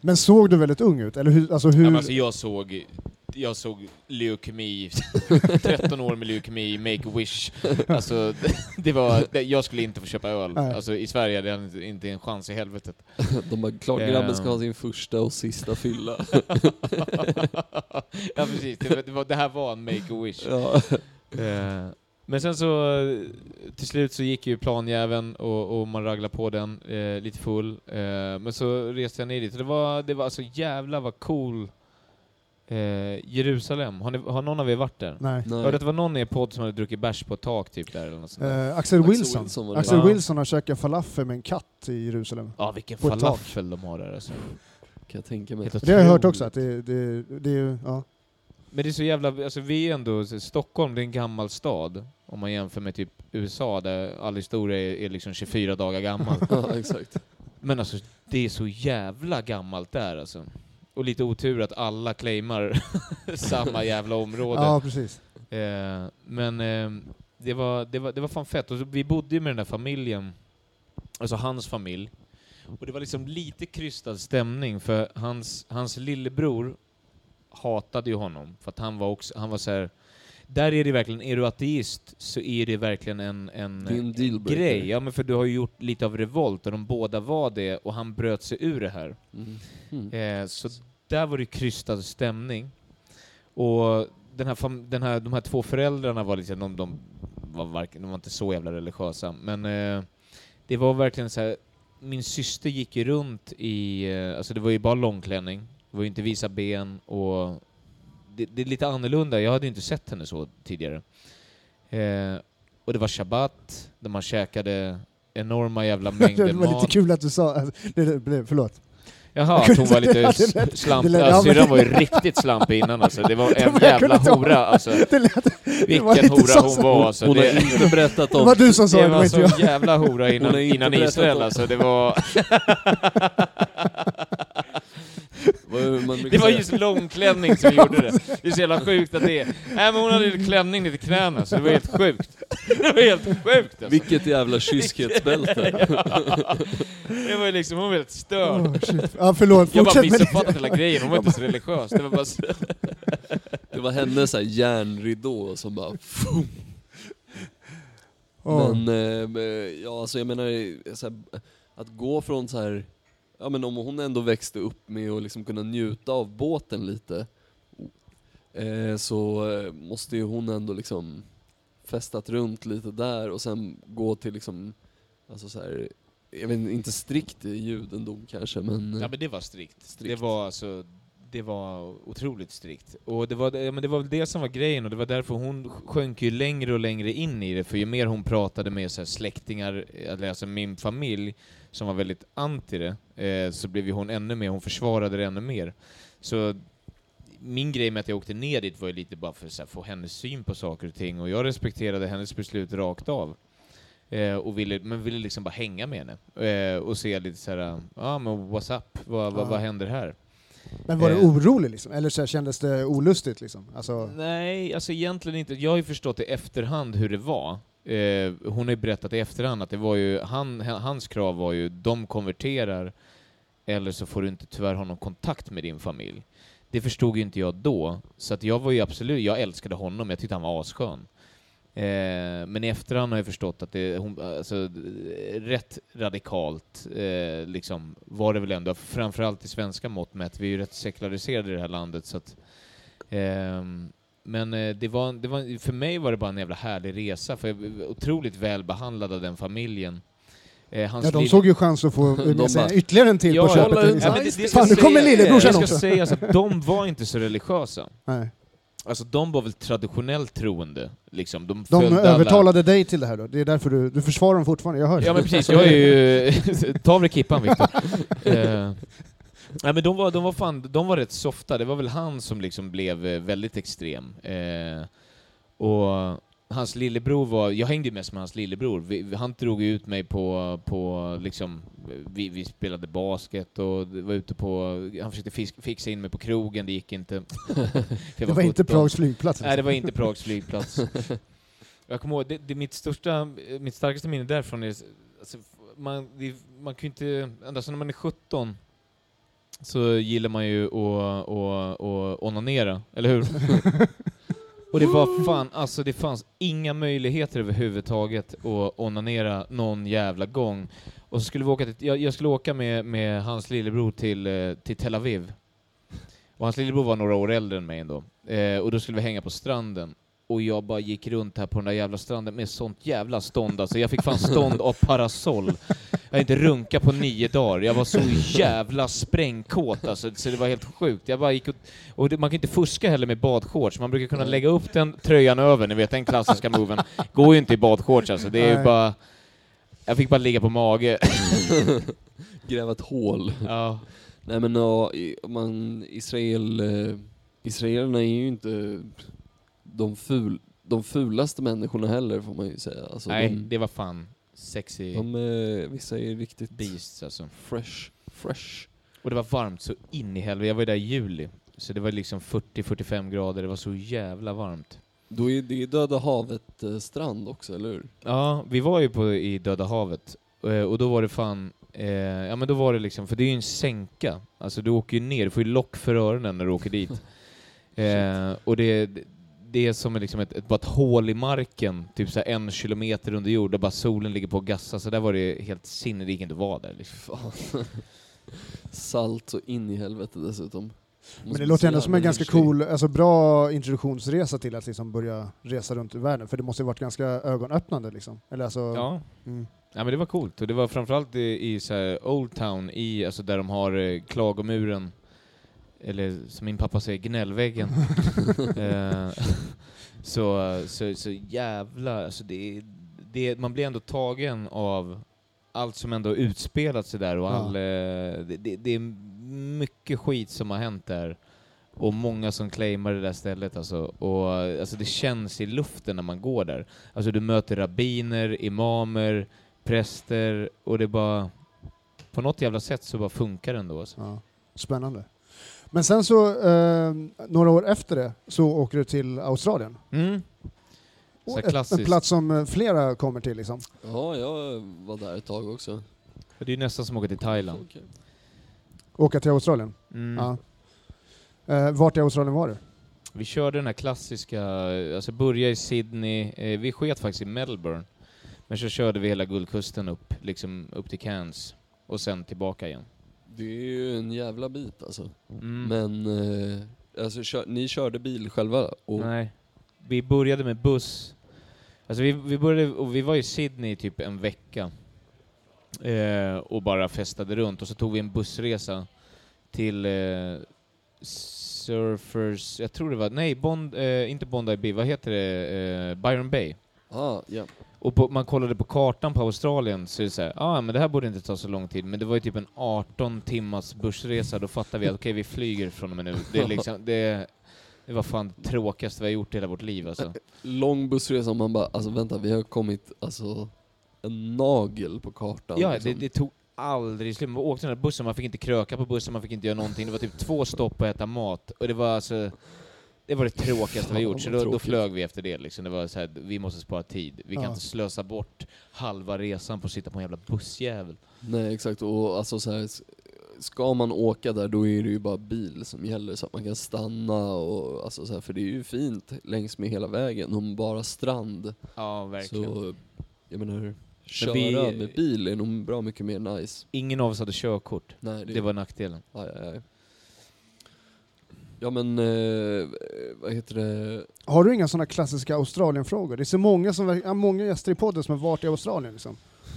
A: Men såg du väldigt ung ut? Eller hur, alltså hur...
D: Ja, men alltså, jag såg... Jag såg leukemi, 13 år med leukemi, make-wish. Alltså, det var, det, jag skulle inte få köpa öl.
A: Nej.
D: Alltså, I Sverige hade jag inte- inte en chans i helvetet.
B: De bara, klart grabben ska ha sin första och sista fylla.
D: ja, precis. Det, var- det, var, det här var en make-a-wish.
B: Ja.
D: Eh, Men sen så eh, till slut så gick ju planjäveln och, och man raglade på den eh, lite full. Eh, men så reste jag ner dit och det var, det var alltså jävla vad cool eh, Jerusalem. Har, ni, har någon av er varit där?
A: Nej.
D: Jag hörde att det var någon i er podd som hade druckit bärs på ett tak typ där eller något sånt där.
A: Eh, Axel Wilson.
B: var det.
A: Axel
D: Ja.
A: Wilson har käkat falafel med en katt i Jerusalem.
D: Ja, vilken
A: på ett tak.
D: falafel de har där alltså.
B: Kan jag tänka mig.
D: Helt
A: Det har jag hört
D: otroligt.
A: också, att det, det, det är ju... Ja.
D: Men det är så jävla, alltså vi är ändå, Stockholm det är en gammal stad. Om man jämför med typ USA där all historia är, är liksom 24 dagar gammal.
B: Ja, exakt.
D: Men alltså det är så jävla gammalt där alltså. Och lite otur att alla claimar samma jävla område.
A: ja, precis.
D: Eh, men eh, det, var, det, var, det var fan fett. Och så, vi bodde ju med den där familjen, alltså hans familj. Och det var liksom lite krystad stämning för hans, hans lillebror hatade ju honom. För att han var också, han var så här. Där är det verkligen, är du ateist så är det verkligen en, en
B: Det är en dealbreaker.
D: grej. Ja men för du har ju gjort lite av revolt och de båda var det och han bröt sig ur det här.
B: Mm. Mm.
D: Eh, så där var det krystad stämning. Och den här, fam- den här, de här två föräldrarna var liksom, de, de, var varken, de var inte så jävla religiösa, men eh, det var verkligen så här. min syster gick ju runt i, eh, alltså det var ju bara långklänning, det var ju inte visa ben och det, det är lite annorlunda, jag hade ju inte sett henne så tidigare. Eh, och det var shabbat, där man käkade enorma jävla mängder
A: det var
D: mat.
A: lite kul att du sa... Alltså, det, det, blev- förlåt.
D: Jaha,
A: Jag
D: att hon
A: kunde
D: var lite
A: inte- det lät-
D: s- slampig.
A: det lät-
D: Ja,
A: ja, men-
D: syrran var ju riktigt slampig innan alltså. Det var en
A: jag kunde
D: jävla
A: inte-
D: hora alltså.
A: Det lät,
D: Vilken
A: var lite
D: hora
A: så-
D: hon var alltså.
B: Hon har
D: Det,
B: inte berättat
A: det
B: om
A: var du som sa det,
D: det
A: det var
D: var
A: inte
D: så
A: jag.
D: jävla hora
B: Hon
D: innan,
B: har inte
D: innan
B: berättat
D: Israel
B: om-
D: alltså. Det var,
B: Vad man brukar
D: det var
B: säga.
D: just långklänning som gjorde det. Det är så jävla sjukt att det är. Nej men hon hade ju klänning ner till knäna så det var helt sjukt. Det var helt sjukt alltså.
B: Vilket jävla kyskhetsbälte.
D: Det var ju liksom, hon var helt störd.
A: Åh, shit. Ja, förlåt.
D: Jag bara
A: Mm. Fortsätt med
D: missuppfattade hela grejen, hon var inte så religiös. Det var bara så...
B: Det var hennes så här järnridå som bara...
A: Åh.
B: Men eh, ja, alltså jag menar eh, så här, att gå från så här, ja men om hon ändå växte upp med att liksom kunna njuta av båten lite, eh, så eh, måste ju hon ändå liksom festat runt lite där och sen gå till liksom, alltså så här, jag vet inte, inte strikt i judendom kanske men... eh,
D: Ja men det var strikt.
B: Strikt.
D: Det var alltså, det var otroligt strikt. Och det var, ja, men det var väl det som var grejen och det var därför hon sjönk ju längre och längre in i det, för ju mer hon pratade med så här, släktingar, eller alltså min familj, som var väldigt anti det, eh, så blev ju hon ännu mer, hon försvarade det ännu mer. Så min grej med att jag åkte ner dit var ju lite bara för att så här, få hennes syn på saker och ting, och jag respekterade hennes beslut rakt av. Eh, och ville, men ville liksom bara hänga med henne eh, och se lite så här, ja men what's up, vad, vad,
A: Ja.
D: vad händer här?
A: Men var du
D: eh.
A: orolig liksom? Eller så här, kändes det olustigt liksom? Alltså,
D: Nej, alltså egentligen inte. Jag har ju förstått i efterhand hur det var. Eh, hon har ju berättat i efterhand att det var ju, han, h- hans krav var ju, de konverterar eller så får du inte tyvärr ha någon kontakt med din familj. Det förstod ju inte jag då, så att jag var ju absolut, jag älskade honom, jag tyckte han var asskön. Eh, men i efterhand har jag förstått att det, hon, alltså, eh, rätt radikalt eh, liksom, var det väl ändå, framförallt i svenska mått mätt, vi är ju rätt sekulariserade i det här landet så att Ehm, men eh, det var, det var, för mig var det bara en jävla härlig resa, för jag var otroligt välbehandlad av den familjen. Eh, hans
A: ja, de
D: lille-
A: såg ju chans att få
B: De
A: med sig
B: bara-
A: ytterligare en till på köpet.
B: kolla hur-
A: liksom.
B: Ja, men
D: det
A: Fan,
D: ska
A: nu kommer
D: sägas-
A: lillebrorsan
D: Det
A: också.
D: ska sägas att de var inte så religiösa.
A: Nej.
D: Alltså de var väl traditionellt troende, liksom. De,
A: De
D: följde
A: övertalade dig till det här då? Det är därför du, du försvarar dem fortfarande, jag hör
D: alla...
A: det.
D: Ja men precis, jag är ju... Ta av dig kippan Viktor. Eh, Nej men de var, de var fan, de var rätt softa. Det var väl han som liksom blev eh, väldigt extrem. Eh, och hans lillebror var, jag hängde ju mest med hans lillebror. Vi, vi- han drog ju ut mig på, på liksom, vi, vi spelade basket och det var ute på, han försökte fisk, fixa in mig på krogen, det gick inte. För jag
A: Det var inte
D: 17.
A: Prags flygplats. liksom.
D: Nej, det var inte Prags flygplats. Jag kommer ihåg, det, det, mitt, största, mitt starkaste minne därifrån är... Alltså, man, det, man kan ju inte... Ända sedan när man är 17 så gillar man ju att, att, att onanera, eller hur? Och det var fan, alltså det fanns inga möjligheter överhuvudtaget att onanera någon jävla gång. Och så skulle vi åka till, jag, jag skulle åka med, med hans lillebror till, eh, till Tel Aviv. Och hans lillebror var några år äldre än mig ändå. Eh, och då skulle vi hänga på stranden. Och jag bara gick runt här på den där jävla stranden med sånt jävla stånd alltså. Jag fick fan stånd av parasoll. Jag hade inte runkat på nio dagar. Jag var så jävla sprängkåt alltså, så det var helt sjukt. Jag bara gick och... och det, man kan inte fuska heller med badshorts. Man brukar kunna lägga upp den tröjan över, ni vet den klassiska moven. Går ju inte i badshorts alltså. Det är ju
A: Nej.
D: bara... Jag fick bara ligga på mage.
B: Gräva ett hål.
D: Ja.
B: Nej men ja, i- man, Israel, eh, Israelerna är ju inte de, ful, de fulaste människorna heller får man ju säga. Alltså,
D: Nej,
B: de,
D: det var fan sexy
B: de, eh, vissa är riktigt
D: beasts alltså.
B: fresh. fresh.
D: Och det var varmt så in i helvete. Jag var ju där i juli. Så det var liksom 40-45 grader, det var så jävla varmt.
B: Då är det Döda havet eh, strand också, eller hur?
D: Ja, vi var ju på, i Döda havet. Eh, Och då var det fan... Eh, ja men då var det liksom, för det är ju en sänka. Alltså du åker ju ner, du får ju lock för öronen när du åker dit. eh, och det, det är som liksom ett, ett, bara ett hål i marken, typ så här en kilometer under jord, där bara solen ligger på och gassar. Så där var det helt sinne, det gick inte att vara där liksom.
B: Fan. Salt och in i helvete dessutom.
A: Men
B: Måste
A: det
B: bli
A: låter
B: så
A: ändå som en
B: jävla
A: ganska
B: lyxig.
A: cool, alltså bra introduktionsresa till att liksom börja resa runt i världen. För det måste ju varit ganska ögonöppnande liksom. Eller alltså,
D: Ja.
A: mm.
D: Ja men det var coolt, och det var framförallt i, i så här Old Town, i, alltså där de har eh, klagomuren, eller som min pappa säger, gnällväggen. Eh, så, så, så jävla, alltså det, är- det, är- man blir ändå tagen av allt som ändå har utspelat sig där och
A: Ja.
D: all, eh, det, det, det är mycket skit som har hänt där. Och många som claimar det där stället alltså. Och eh, alltså det känns i luften när man går där. Alltså du möter rabbiner, imamer, präster och det bara... På något jävla sätt så bara funkar det ändå alltså.
A: ja. Spännande. Men sen så, eh, några år efter det, så åker du till Australien.
D: Mm. Så
A: Och
D: här
A: ett- en
D: klassiskt.
A: plats som eh, flera kommer till liksom.
B: Ja, jag var där ett tag också.
D: Det är ju nästan som att åka till Thailand.
B: Okej.
A: Åka till Australien.
D: Mm.
A: Ja. Eh, vart i Australien var du?
D: Vi körde den här klassiska, eh, alltså börja i Sydney, eh, vi sket faktiskt i Melbourne. Men så körde vi hela Guldkusten upp, liksom upp till Cairns och sen tillbaka igen.
B: Det är ju en jävla bit alltså.
D: Mm.
B: Men eh, alltså, kör, ni körde bil själva? Och,
D: Nej. Vi började med buss. Alltså vi, vi, började, och vi var i Sydney i typ en vecka eh, och bara festade runt och så tog vi en bussresa till eh, Surfers, jag tror det var, nej, Bond, eh, inte Bondi Bay, vad heter det, eh, Byron Bay.
B: Ah, ja.
D: Och på, man kollade på kartan på Australien så är det så här, ah, men det här borde inte ta så lång tid, men det var ju typ en 18 timmars bussresa, då fattade vi att okej, vi flyger från och med nu. Det, är liksom, det, det var fan det tråkigaste vi har gjort i hela vårt liv alltså.
B: Lång bussresa och man bara, alltså vänta vi har kommit alltså en nagel på kartan.
D: Ja, det,
B: liksom.
D: det tog aldrig slut. Man åkte den där bussen, man fick inte kröka på bussen, man fick inte göra någonting. Det var typ två stopp och äta mat. Och det var alltså... Det var det tråkigaste vi har
B: Fan,
D: gjort, så
B: vad
D: då, då
B: tråkigt.
D: flög vi efter det liksom. Det var så här, vi måste spara tid. Vi kan
A: Ja.
D: inte slösa bort halva resan på att sitta på en jävla bussjävel.
B: Nej exakt, och alltså så här, s- ska man åka där då är det ju bara bil som gäller så att man kan stanna och alltså så här, för det är ju fint längs med hela vägen, om bara strand.
D: Ja, verkligen.
B: Så jag menar, köra
D: vi-
B: med bil är nog bra mycket mer nice.
D: Ingen av oss hade körkort.
B: Nej,
D: Det var nackdelen.
B: Aj, aj, aj. Ja men, eh, vad heter det?
A: Har du inga sådana klassiska Australienfrågor? Det är så många, som, verk- ja, många gäster i podden som har varit i Australien liksom.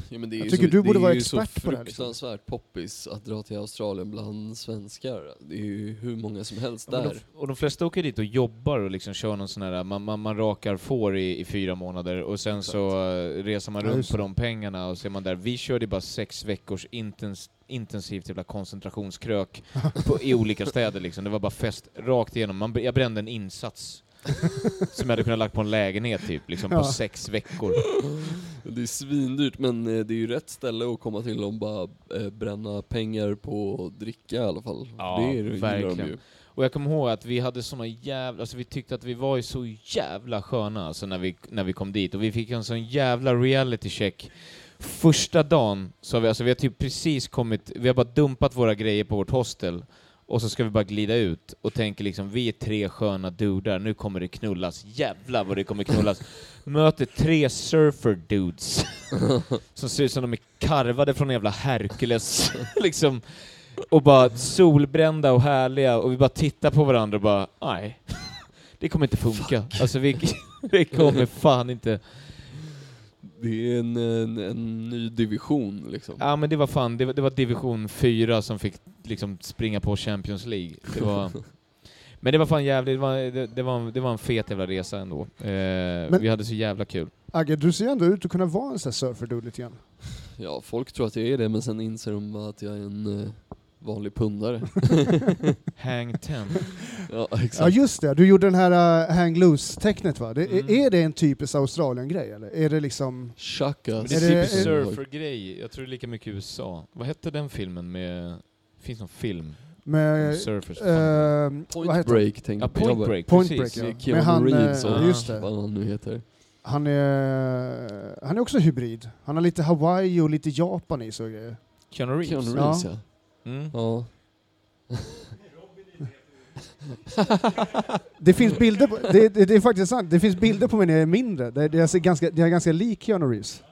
B: Ja, men det är
A: Jag
B: ju
A: tycker
B: så,
A: du borde
B: det
A: vara
B: är ju
A: expert
B: så
A: på det här, liksom.
B: fruktansvärt poppis att dra till Australien bland svenskar. Det är ju hur många som helst
D: Ja, men
B: där.
D: de, och de flesta åker dit och jobbar och liksom kör någon sån här, man, man, man rakar får i, i fyra månader och sen så eh, reser man
A: Ja,
D: runt
A: just
D: på
A: det.
D: de pengarna och så är man där. Vi körde bara sex veckors intens, intensivt jävla koncentrationskrök på, i olika städer liksom. Det var bara fest rakt igenom. Man, jag brände en insats som jag hade kunnat lagt på en lägenhet typ, liksom på
A: Ja.
D: sex veckor.
B: Det är svindyrt men eh, det är ju rätt ställe att komma till om bara eh, bränna pengar på att dricka i alla fall.
D: Ja,
B: det är, gillar de
D: verkligen.
B: ju.
D: Och jag kommer ihåg att vi hade såna jävla, alltså vi tyckte att vi var ju så jävla sköna alltså när vi, när vi kom dit och vi fick en sån jävla reality check. Första dagen så har vi, alltså vi har typ precis kommit, vi har bara dumpat våra grejer på vårt hostel och så ska vi bara glida ut och tänker liksom vi är tre sköna dudar, nu kommer det knullas, jävlar vad det kommer knullas. Möter tre surfer dudes som ser ut som de är karvade från en jävla Herkules liksom och bara solbrända och härliga och vi bara tittar på varandra och bara nej, det kommer inte funka. Alltså vi, vi kommer fan inte...
B: Det är en, en, en ny division liksom.
D: Ja men det var fan, det var, det var division 4 som fick liksom springa på Champions League. Det var... Men det var fan jävligt, det var, det, det var, det var en fet jävla resa ändå. Eh, vi hade så jävla kul.
A: Agge, du ser ändå ut att kunna vara en sån här surferdude lite grann.
B: Ja, folk tror att jag är det men sen inser de bara att jag är en eh, vanlig pundare.
D: Hang ten.
B: ja,
A: Ja
B: exakt.
A: just det, du gjorde den här uh, hang loose-tecknet va? Det,
D: Mm.
A: Är det en typisk Australien-grej eller? Är det liksom...
B: Chaka.
D: Men det
A: Är
D: är
A: det-
D: typ surfer-grej, jag tror det är lika mycket i USA. Vad hette den filmen med... Finns någon film?
A: Med,
D: Surfers.
A: eh, vad
B: Point
A: heter han?
B: break tänkte
D: Ja,
B: jag
D: Point
B: bara.
D: Break,
A: Point
D: precis.
A: Break, ja.
B: Keanu
A: Men han,
B: Reeves
A: eh,
B: och
A: just det.
B: vad han nu heter.
A: Han är, han är också hybrid. Han har lite Hawaii och lite Japan i sig och grejer.
D: Keanu Reeves.
B: Keanu Reeves ja.
D: Mm.
B: ja.
A: Det finns bilder på, det, det, det är faktiskt sant, det finns bilder på mig när jag är mindre. Där där jag ser ganska, där jag är ganska lik Keanu Reeves.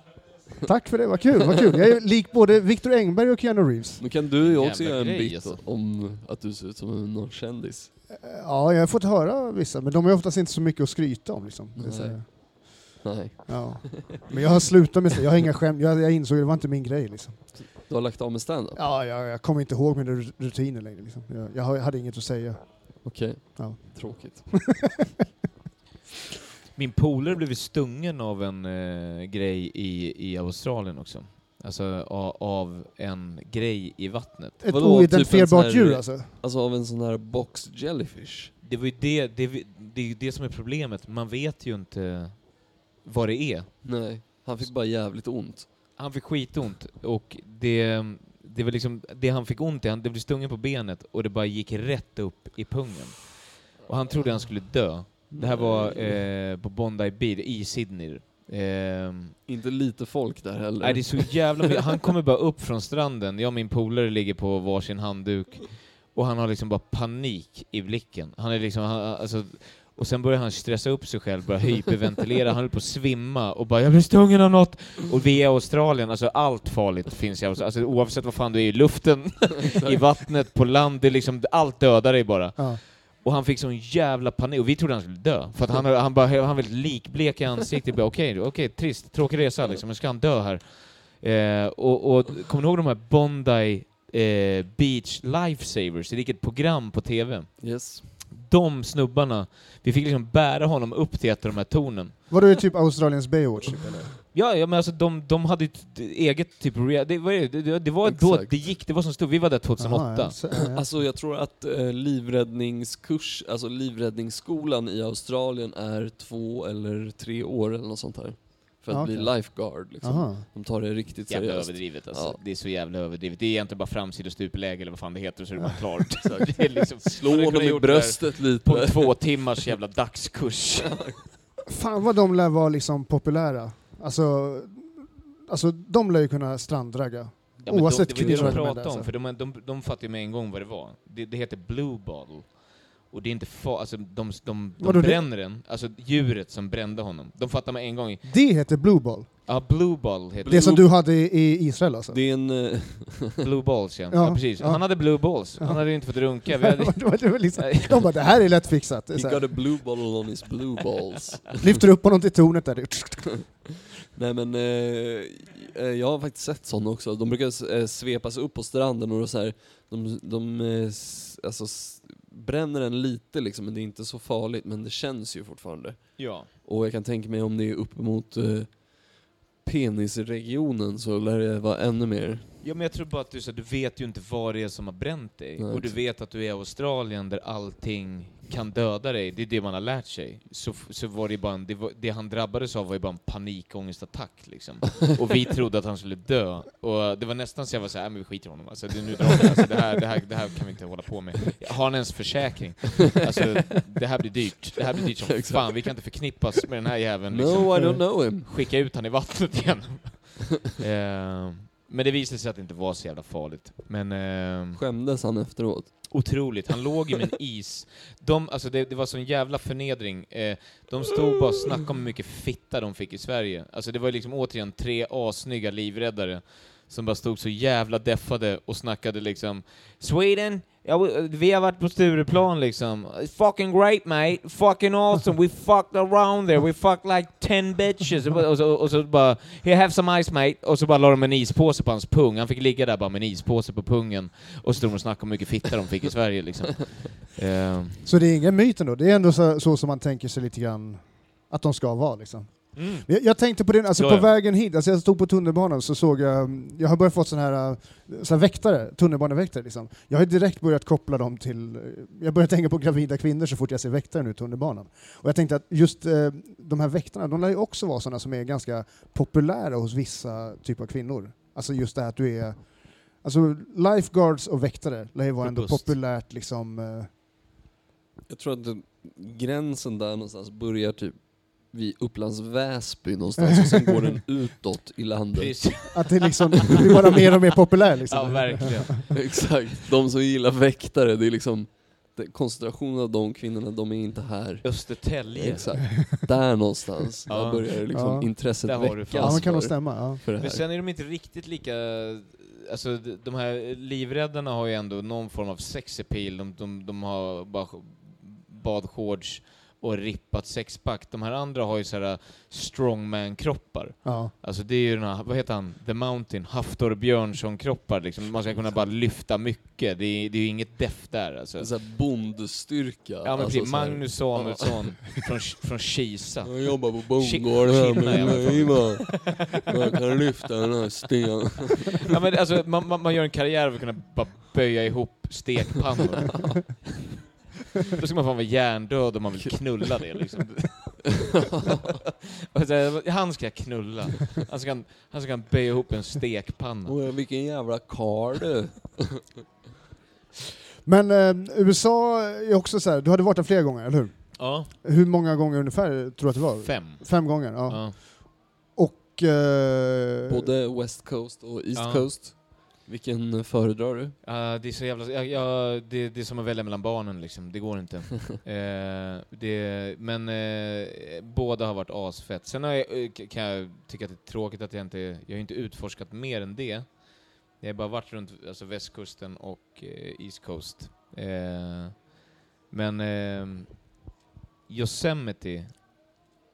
A: Tack för det, vad kul, vad kul. Jag är lik både Victor Engberg och Keanu Reeves.
B: Nu kan du ju också
D: Jävla
B: göra en
D: grej,
B: bit
D: alltså.
B: om att du ser ut som en någon kändis.
A: Ja, jag har fått höra vissa, men de är oftast inte så mycket att skryta om. Liksom. Det är så här,
B: Nej. Nej,
A: Ja. Men jag har slutat med det, jag har inga skämt, jag, jag insåg att det var inte min grej. Liksom.
B: du har lagt av med stand-up?
A: Ja, jag, jag kommer inte ihåg mina rut- rutiner längre. Liksom. Jag, jag har- jag hade inget att säga.
B: Okej.
A: Ja.
B: Tråkigt.
D: Min polare blev ju stungen av en eh, grej i, i Australien också. Alltså a, av en grej i vattnet.
A: Ett
B: Vadå, typ en
A: oidentifierbart
B: sån här-
A: djur alltså.
B: Alltså av en sån här box jellyfish.
D: Det var ju det, det, vi- det, är ju det som är problemet, man vet ju inte vad det är.
B: Nej, han fick bara jävligt ont.
D: Han fick skitont och det, det var liksom, det han fick ont i, han, det blev stungen på benet och det bara gick rätt upp i pungen. Och han trodde han skulle dö. Det här var eh, på Bondi Beach i Sydney. Ehm,
B: Inte lite folk där heller.
D: Nej, det är så jävla mycket. Han kommer bara upp från stranden. Jag och min polare ligger på varsin handduk och han har liksom bara panik i blicken. Han är liksom, han, alltså, och sen börjar han stressa upp sig själv, börjar hyperventilera, han höll på att svimma och bara ”jag blir stungen av något” och vi är i Australien, alltså allt farligt finns i Australien, alltså, oavsett vad fan du är i luften, i vattnet, på land, det är liksom, allt dödar dig bara.
A: Ja.
D: Och han fick sån jävla panik, och vi trodde han skulle dö. För att han, han, bara, han var väldigt likblek i ansiktet. Bara, Okej, okej, trist, tråkig resa liksom, nu ska han dö här. Eh, och, och kommer ni ihåg de här Bondi eh, Beach Lifesavers? Det gick ett program på TV.
B: Yes.
D: De snubbarna, vi fick liksom bära honom upp till ett av de här tornen.
A: Var det typ Australiens Baywatch? Typ, eller?
D: Ja, ja men alltså de, de hade ju ett eget typ rea- det, var ju- det, det var då
B: Exakt.
D: det gick, det var som stod, vi var där 2008.
A: Jaha, ja, så- ja.
B: Alltså jag tror att eh, livräddningskurs, alltså livräddningsskolan i Australien är två eller tre år eller något sånt här. För att
A: Ah,
B: bli
A: okej.
B: lifeguard liksom.
A: Jaha.
B: De tar det riktigt
D: Jävla
B: seriöst.
D: överdrivet alltså.
B: Ja.
D: Det är så jävla överdrivet. Det är egentligen bara framsida stupläge eller vad fan det heter, så är det bara klart. det är liksom,
B: Slå
D: hade
B: honom
D: kunnat
B: i
D: gjort det
B: bröstet
D: där På en
B: lite.
D: två timmars jävla dagskurs.
A: Fan vad de lär vara liksom populära. Alltså, alltså de lär ju kunna stranddragga.
D: Ja, men
A: Oavsett
D: de, det var det
A: kvinnor
D: de
A: eller män,
D: pratade om,
A: alltså.
D: för de, de, de fattade ju med en gång vad det var. Det, det heter blue bottle. Och det är inte fa- alltså de, de, de,
A: Vadå, det-
D: bränner den, alltså djuret som brände honom. De fattar med en gång,
A: Det heter blue ball.
D: ja blue ball heter
A: Det som du hade i- i Israel alltså?
B: Det är en... eh,
D: det. Blue balls ja. ja,
A: Ja,
D: precis.
A: ja.
D: Han hade blue balls, han
A: Ja.
D: hade inte fått runka. Vi hade,
A: Det var- det var liksom, de bara, det här är lätt fixat. Det är så
B: he got
A: här,
B: a blue bottle on his blue balls.
A: lyfter upp honom till tornet där. det-
B: Nej men, eh, eh, jag har faktiskt sett sådana också. De brukar eh, svepas upp på stranden och då så här, de, de eh, s- alltså, s- bränner den lite liksom, men det är inte så farligt. Men det känns ju fortfarande.
D: ja.
B: Och jag kan tänka mig om det är uppemot eh, penisregionen så lär det vara ännu mer.
D: Ja, men jag tror bara att du, så, du vet ju inte vad det är som har bränt dig.
B: Nej,
D: och du
B: exakt.
D: vet att du är i Australien där allting kan döda dig. Det är det man har lärt sig. Så, så var det, bara en, det, var, det han drabbades av var ju bara en panikångestattack liksom. Och vi trodde att han skulle dö. Och det var nästan så jag var såhär, men vi skiter i honom alltså, det, nu drar vi. Alltså, det, här, det, här, det här kan vi inte hålla på med. Har han ens försäkring? Alltså, det här blir dyrt. Det här blir dyrt som
B: Exakt.
D: fan. Vi kan inte förknippas med den här jäveln. Liksom
B: No, I don't know him.
D: skicka ut han i vattnet igen. eh, men det visade sig att det inte var så jävla farligt. Men eh,
B: Skämdes han efteråt?
D: otroligt, han låg i en is. De, alltså det, det var sån jävla förnedring. Eh, de stod bara och snackade om hur mycket fitta de fick i Sverige. Alltså det var ju liksom återigen tre assnygga livräddare som bara stod så jävla deffade och snackade liksom Sweden, ja, we- vi har varit på Stureplan liksom. It's fucking great mate, fucking awesome, we fucked around there, we fucked like 10 bitches. Och, bara- och, så, och så bara, here have some ice mate. Och så bara la de en ispåse på hans pung, han fick ligga där bara med en ispåse på pungen. Och så stod de och snackade om hur mycket fitta de fick i Sverige liksom. Eh,
A: Så det är ingen myt ändå, det är ändå så, så som man tänker sig lite grann att de ska vara liksom. Jag, jag tänkte på det, alltså
D: Mm. Ja,
A: på
D: ja.
A: vägen hit, alltså jag stod på tunnelbanan så såg jag, mm, jag har börjat få sådana här, eh, såna här väktare, tunnelbaneväktare liksom. Jag har ju direkt börjat koppla dem till, eh, jag börjar tänka på gravida kvinnor så fort jag ser väktare nu i tunnelbanan. Och jag tänkte att just eh, de här väktarna, de lär ju också vara sådana som är ganska populära hos vissa typer av kvinnor. Alltså just det här att du är, alltså lifeguards och väktare lär ju vara ändå
D: Robust.
A: populärt liksom eh,
B: Jag tror att den- gränsen där någonstans börjar typ vid Upplands Väsby någonstans och sen går den utåt i landet.
D: precis.
A: Att det liksom det blir bara mer och mer populär liksom.
D: Ja, verkligen.
B: Exakt. De som gillar väktare, det är liksom det- koncentrationen av de kvinnorna, de är inte här.
D: Östertälje.
B: Exakt. Där någonstans,
D: Ja.
B: där börjar liksom
A: Ja.
B: intresset
D: Där har du
B: väckas
D: fan.
A: ja, men kan nog
B: för,
A: stämma. Ja.
B: för det här.
D: Men sen är de inte riktigt lika... Alltså d- de här livräddarna har ju ändå någon form av sex appeal. De, de, de har bara sh- badshorts och rippat sexpack. De här andra har ju så här strongman-kroppar.
A: Ja.
D: Alltså det är ju den här, vad heter han, The Mountain, Haftor Björnsson-kroppar liksom. Man ska kunna bara lyfta mycket. Det är, det är ju inget deff där alltså.
B: Så här bondstyrka. alltså,
D: Ja men precis,
B: så här-
D: Magnus Samuelsson från, från Kisa.
B: Jag jobbar på
D: Shit-
B: bondgården här
D: shit,
B: med
D: nej, jag var
B: Leiva. Man kan lyfta den här stenen.
D: Ja, men alltså, man, man, man gör en karriär av att kunna bara böja ihop stekpannor. Då ska man fan vara hjärndöd om man vill knulla det liksom. Och så här, han ska jag knulla. Han ska, han ska böja ihop en stekpanna.
B: Åh, vilken jävla karl du.
A: Men eh, USA är också så här, du hade varit där flera gånger, eller hur?
D: Ja.
A: Hur många gånger ungefär tror du att det var?
D: Fem.
A: Fem gånger, ja.
D: Ja.
A: Och... Eh,
B: Både West Coast och East
D: Ja.
B: Coast. Vilken föredrar du?
D: Ja, det är så jävla... Jag, jag, det, det är som att välja mellan barnen liksom, det går inte. eh, det, men eh, båda har varit asfett. Sen har jag, eh, k- kan jag tycka att det är tråkigt att jag inte... Jag har ju inte utforskat mer än det. Jag har bara varit runt alltså, västkusten och eh, East Coast. Eh, men eh, Yosemite,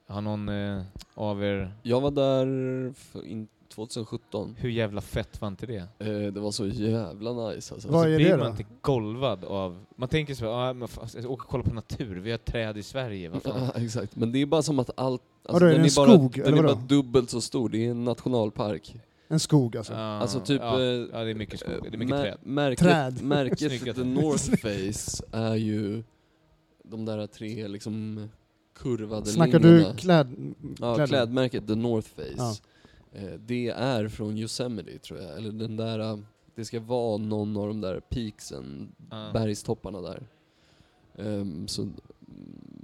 D: har någon eh, av er...
B: Jag var där för in 2017.
D: Hur jävla fett var inte det?
B: Eh, det var så jävla nice alltså.
A: Vad är
D: blir
A: det
D: man
A: då?
D: inte golvad av... Man tänker så här, ah, men fan, jag ska åka och kolla på natur, vi har träd i Sverige, vad fan.
B: Ja, exakt, men det är bara som att allt...
A: Vadå, är det en
B: bara,
A: skog,
B: den
A: eller
B: är bara
A: vadå?
B: dubbelt så stor, det är en nationalpark.
A: En skog alltså.
D: Ah,
B: Alltså typ...
D: Ja,
B: eh,
D: ja, det är mycket skog, det är mycket
B: mär-
D: träd.
B: Märket,
A: Träd.
B: märket
D: Snyggt.
B: The North Face är ju de där tre liksom kurvade
A: Snackar
B: linjerna.
A: du kläd...
B: Ja,
A: kläder?
B: klädmärket The North Face.
A: Ja.
B: Eh, Det är från Yosemite tror jag, eller den där, eh, det ska vara någon av de där peaksen,
D: Ah.
B: bergstopparna där. Ehm, så,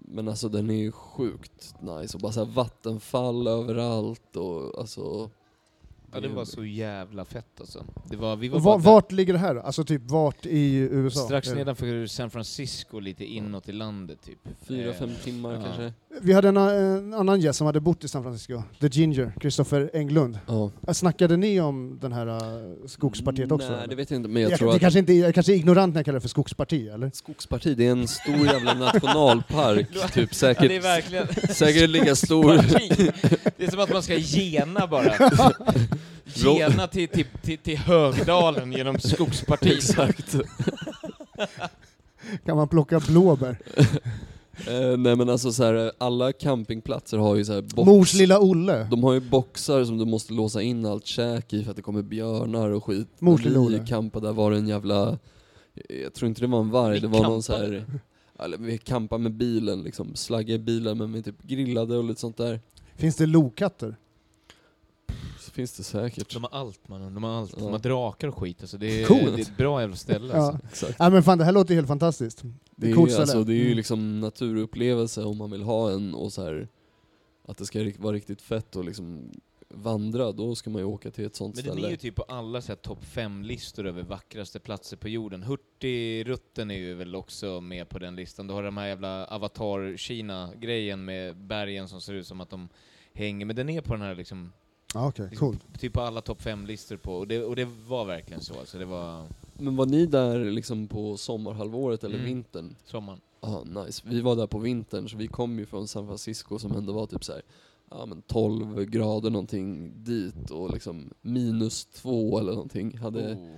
B: men alltså den är ju sjukt nice och bara så här vattenfall överallt och alltså...
D: Ja, det var så jävla fett alltså. Det var, vi var
A: Och va-
D: bara där-
A: vart ligger det här då? Alltså typ vart i USA?
D: strax
A: Eh,
D: nedanför San Francisco, lite inåt i landet typ.
B: Fyra,
D: Eh,
B: fem timmar
D: ja.
B: kanske?
A: Vi hade en, en annan gäst som hade bott i San Francisco, The Ginger, Christopher Englund.
B: Ja.
A: Eh, Snackade ni om den här eh, skogspartiet också?
B: Nej,
A: eller?
B: det vet jag inte, men jag,
A: jag,
B: tror
A: det
B: att
A: kanske inte, är- jag kanske är ignorant när jag kallar det för skogsparti, eller?
B: Skogsparti, det är en stor jävla nationalpark, typ
D: Ja, det är
B: säkert,
D: verkligen...
B: säkert lika stor.
D: Det är som att man ska gena bara. Gena till, till, till, till Högdalen genom skogspartiet.
B: Exakt.
A: Kan man plocka blåbär?
B: Eh, nej men alltså så här, alla campingplatser har ju så här box.
A: Mors lilla Olle.
B: De har ju boxar som du måste låsa in allt käk i för att det kommer björnar och skit.
A: Mors lilla
B: När
A: Olle.
B: vi campade där var det en jävla, jag tror inte det var en varg,
D: Ni
B: det var någon så
D: campade?
B: här, eller vi campade med bilen liksom, slaggade i bilen men vi typ grillade och lite sånt där.
A: Finns det lokatter?
B: Så finns det säkert.
D: De har allt mannen, de har allt.
B: Ja.
D: De har drakar och skit alltså. Det är,
B: Coolt.
D: det är ett bra jävla ställe
A: Ja.
D: alltså.
B: Exakt.
A: Nej men fan det här låter ju helt fantastiskt.
B: Det är,
A: Coolt
B: ju,
A: ställe.
B: alltså, det är ju
A: Mm.
B: liksom naturupplevelse om man vill ha en och så här att det ska ri- vara riktigt fett och liksom vandra, då ska man ju åka till ett sånt
D: Men den är
B: ställe.
D: ju typ på alla så här topp fem-listor över vackraste platser på jorden. Hurtigruten är ju väl också med på den listan. Du har de här jävla Avatar-Kina-grejen med bergen som ser ut som att de hänger. Men den är på den här liksom,
A: Ja, Okej,
D: liksom
A: coolt.
D: typ på alla topp fem-listor på. Och det, och det var verkligen så alltså. Det var
B: Men var ni där liksom på sommarhalvåret eller
D: Mm.
B: vintern?
D: sommaren.
B: Ja, nice. Vi var där på vintern, så vi kom ju från San Francisco som ändå var typ så här, ja men 12 grader någonting dit och liksom minus två eller någonting. Hade,
D: Oh.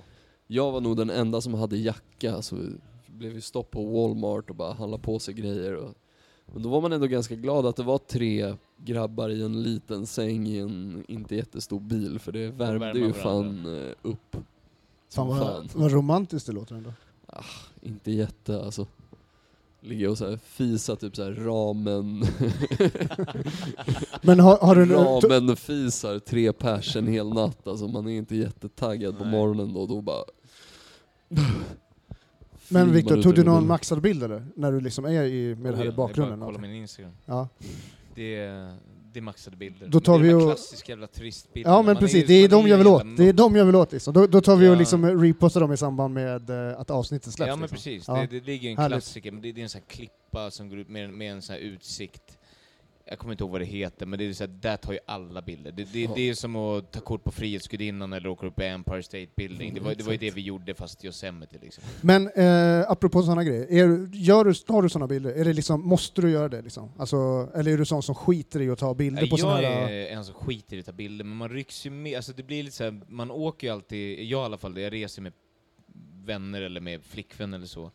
B: Jag var nog den enda som hade jacka, så vi blev ju stopp på Walmart och bara handla på sig grejer. Och, men då var man ändå ganska glad att det var tre grabbar i en liten säng i en inte jättestor bil, för det värmde ju
D: värma
B: fan eh, upp.
A: Fan
B: Som
A: vad, vad romantiskt det låter ändå.
B: Inte jätte alltså. Ligga och så här fisa typ så här ramen,
A: Men har, har du...
B: ramen fisar tre pers en hel natt. Alltså man är inte jättetaggad på
D: Nej.
B: morgonen då, då bara...
A: Men
B: Filmar
A: Viktor,
B: ut
A: tog du
B: över
A: någon
B: bilden.
A: maxad bild eller? När du liksom är i, med det här i bakgrunden?
D: Det är bara att kolla
A: alltså.
D: min Instagram.
A: Ja.
D: Det är, det är maxade bilder.
A: Då tar
D: Men det
A: vi
D: är de här
A: och-
D: klassiska jävla tristbilderna.
A: ja men
D: Man
A: precis,
D: ju-
A: det är
D: man
A: de jag vill
D: ju
A: åt.
D: jävla
A: Det är de jag vill åt liksom. Då, då tar vi och
D: Ja.
A: liksom repostar dem i samband med eh, att avsnittet släpps.
D: Ja men
A: liksom.
D: precis,
A: Ja.
D: det, det ligger en
A: Härligt.
D: klassiker, men det, det är en sån här klippa som går ut med, en- med en sån här utsikt. Jag kommer inte ihåg vad det heter, men det är så här, där tar ju alla bilder. Det, det,
B: Ja.
D: det är som att ta kort på Frihetsgudinnan eller åka upp på Empire State Building. Det var, det var ju det vi gjorde fast i Yosemite liksom.
A: Men eh, apropå sådana grejer, är, gör du, tar du sådana bilder? Är det liksom, måste du göra det? Liksom? Alltså, eller är du sån som skiter i att ta bilder på
D: jag
A: sådana här...
D: är en som skiter i att ta bilder, men man rycks ju med. Alltså det blir lite så här, man åker ju alltid, jag i alla fall, jag reser med vänner eller med flickvän eller så.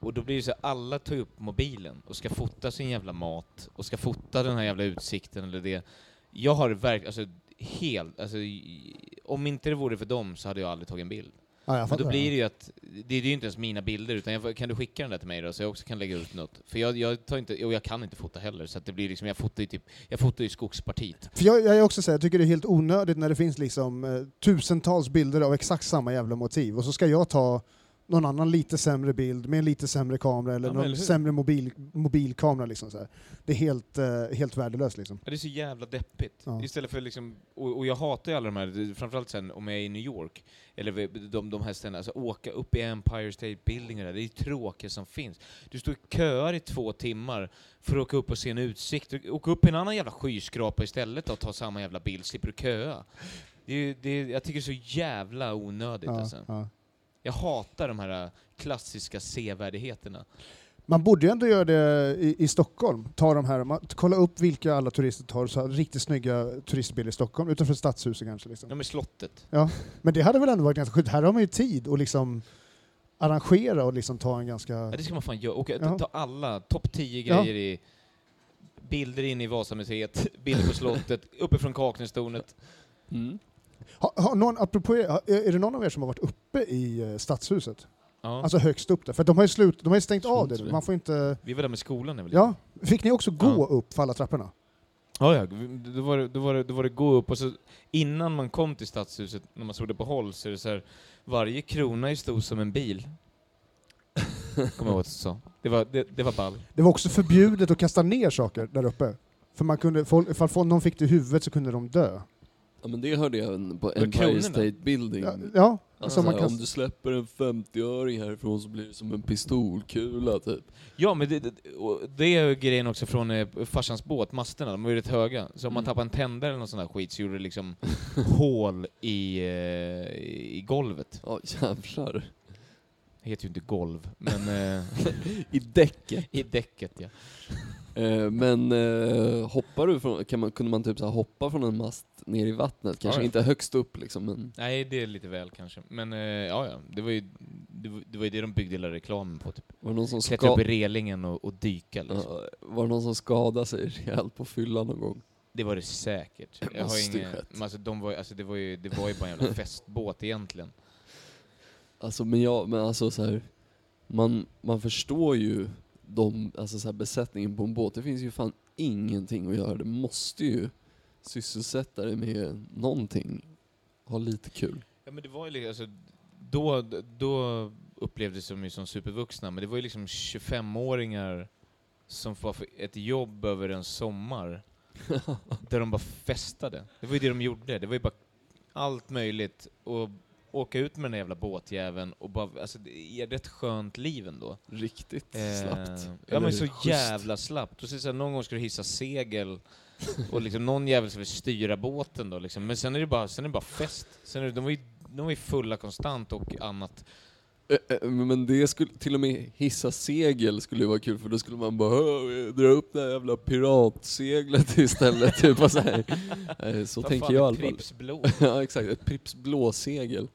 D: Och då blir det så här, alla tar upp mobilen och ska fota sin jävla mat och ska fota den här jävla utsikten eller det. Jag har verkligen, alltså helt, alltså i- om inte det vore för dem så hade jag aldrig tagit en bild.
A: Ja, jag
D: Men
A: fattar.
D: då blir det ju att, det det är ju inte ens mina bilder, utan jag, får- kan du skicka den där till mig då så jag också kan lägga ut något? För jag, jag tar inte, och jag kan inte fota heller, så att det blir liksom, jag fotar ju typ, jag fotar ju skogspartiet.
A: För jag, jag är också så här, jag tycker det är helt onödigt när det finns liksom, eh, tusentals bilder av exakt samma jävla motiv och så ska jag ta någon annan lite sämre bild med en lite sämre kamera eller
D: Ja, men
A: någon
D: eller hur?
A: sämre mobil, mobilkamera. Liksom så här. Det är helt, eh, helt värdelöst. Liksom.
D: Ja, det är så jävla deppigt.
A: Ja.
D: Istället för liksom, och, och jag hatar ju alla de här, framförallt sen om jag är i New York, eller vid- de, de här ställena, alltså åka upp i Empire State Building och det där, det är ju tråkigt som finns. Du står i köer i två timmar för att åka upp och se en utsikt. Du- Åka upp i en annan jävla skyskrapa istället då, och ta samma jävla bild, slipper du köa. Det är, ju- det är, jag tycker det är så jävla onödigt
A: Ja,
D: alltså.
A: ja.
D: Jag hatar de här äh, klassiska sevärdheterna.
A: Man borde ju ändå göra det i, i Stockholm. Ta de här, man, kolla upp vilka alla turister tar, så här, riktigt snygga turistbilder i Stockholm, utanför stadshuset kanske. Liksom.
D: De är slottet.
A: Men det hade väl ändå varit ganska skönt. Här har man ju tid att liksom arrangera och liksom ta en ganska...
D: Ja, det ska man fan göra. Åka,
A: Ja.
D: Ta alla, topp 10
A: Ja.
D: grejer i bilder in i Vasamuseet, bilder på slottet, uppifrån Kaknästornet.
B: Mm.
A: Har, har någon, apropå, er, har- är det någon av er som har varit uppe i eh, stadshuset?
D: Ja.
A: Alltså högst upp där? För de har ju, slut, de har ju stängt
B: Tror
A: av
B: inte
A: det nu.
B: det.
A: Man får inte...
D: vi var där med skolan när vi
A: Ja. Fick ni också gå
D: Ja.
A: upp för alla trapporna?
D: Ja, ja. Då, var det, då, var det, då var det gå upp och så innan man kom till stadshuset, när man såg det på håll, så är det så här, varje krona är stor som en bil. Kommer jag ihåg att du sa. Det var, det, det var ball.
A: Det var också förbjudet att kasta ner saker där uppe. För man kunde, folk, ifall folk- någon fick det i huvudet så kunde de dö.
B: Ja men det hörde jag även på
D: Men
B: Empire
D: kronorna?
B: State Building.
A: Ja, ja.
B: Alltså,
A: Så man
B: här,
A: kan-
B: Om du släpper en 50-öring härifrån så blir det som en pistolkula typ.
D: Ja, men det, det, och det är ju grejen också från eh, farsans båt, masterna, de var ju rätt höga. Så om man
B: Mm.
D: tappade en tändare eller någon sån här skit så gjorde det liksom hål i, eh, i golvet.
B: Ja jävlar.
D: Det heter ju inte golv, men eh,
B: I däcket.
D: i däcket ja.
B: Eh, men eh, hoppar du från, kan man, kunde man typ så här hoppa från en mast ner i vattnet? Kanske
D: Ja, ja.
B: inte högst upp liksom, men
D: Nej, det är lite väl kanske. Men eh, ja, ja. Det var ju det, var, det var ju det de byggde hela reklamen på. Typ.
B: var det någon som,
D: Klättra
B: ska,
D: upp i relingen och, och dyka liksom.
B: Ja, var det någon som skadade sig rejält på fyllan någon gång?
D: Det var det säkert.
B: Det
D: Jag har
B: måste ju
D: ingen,
B: skett.
D: men alltså, de var, ju- alltså, det, var ju, det var ju bara en jävla festbåt egentligen.
B: Alltså, men jag, men alltså så här, man, man förstår ju de, alltså så här, besättningen på en båt. Det finns ju fan ingenting att göra. Du måste ju sysselsätta dig med någonting. Ha lite kul.
D: Ja, men det var ju li- alltså, då, då upplevdes de ju som supervuxna, men det var ju liksom 25-åringar som var för ett jobb över en sommar, där de bara festade. Det var ju det de gjorde. Det var ju bara allt möjligt. Och åka ut med den där jävla båtjäveln och bara, alltså det är rätt skönt liv ändå.
B: Riktigt
D: Eh,
B: slappt.
D: Ja
B: Eller
D: men så
B: schysst.
D: jävla slappt. Och så, är det så här, någon gång ska du hissa segel och liksom någon jävel ska väl styra båten då liksom. Men sen är det bara, sen är det bara fest. Sen är det, de, var ju, de var ju fulla konstant och annat.
B: Eh, eh, Men det skulle, till och med hissa segel skulle ju vara kul för då skulle man bara "Åh, dra upp det här jävla piratseglet istället. typ och så här. Eh, Så
D: Vad
B: tänker
D: fan,
B: jag i
D: ett
B: alla fall.
D: Pripps blå.
B: Ja exakt, ett Pripps blåsegel.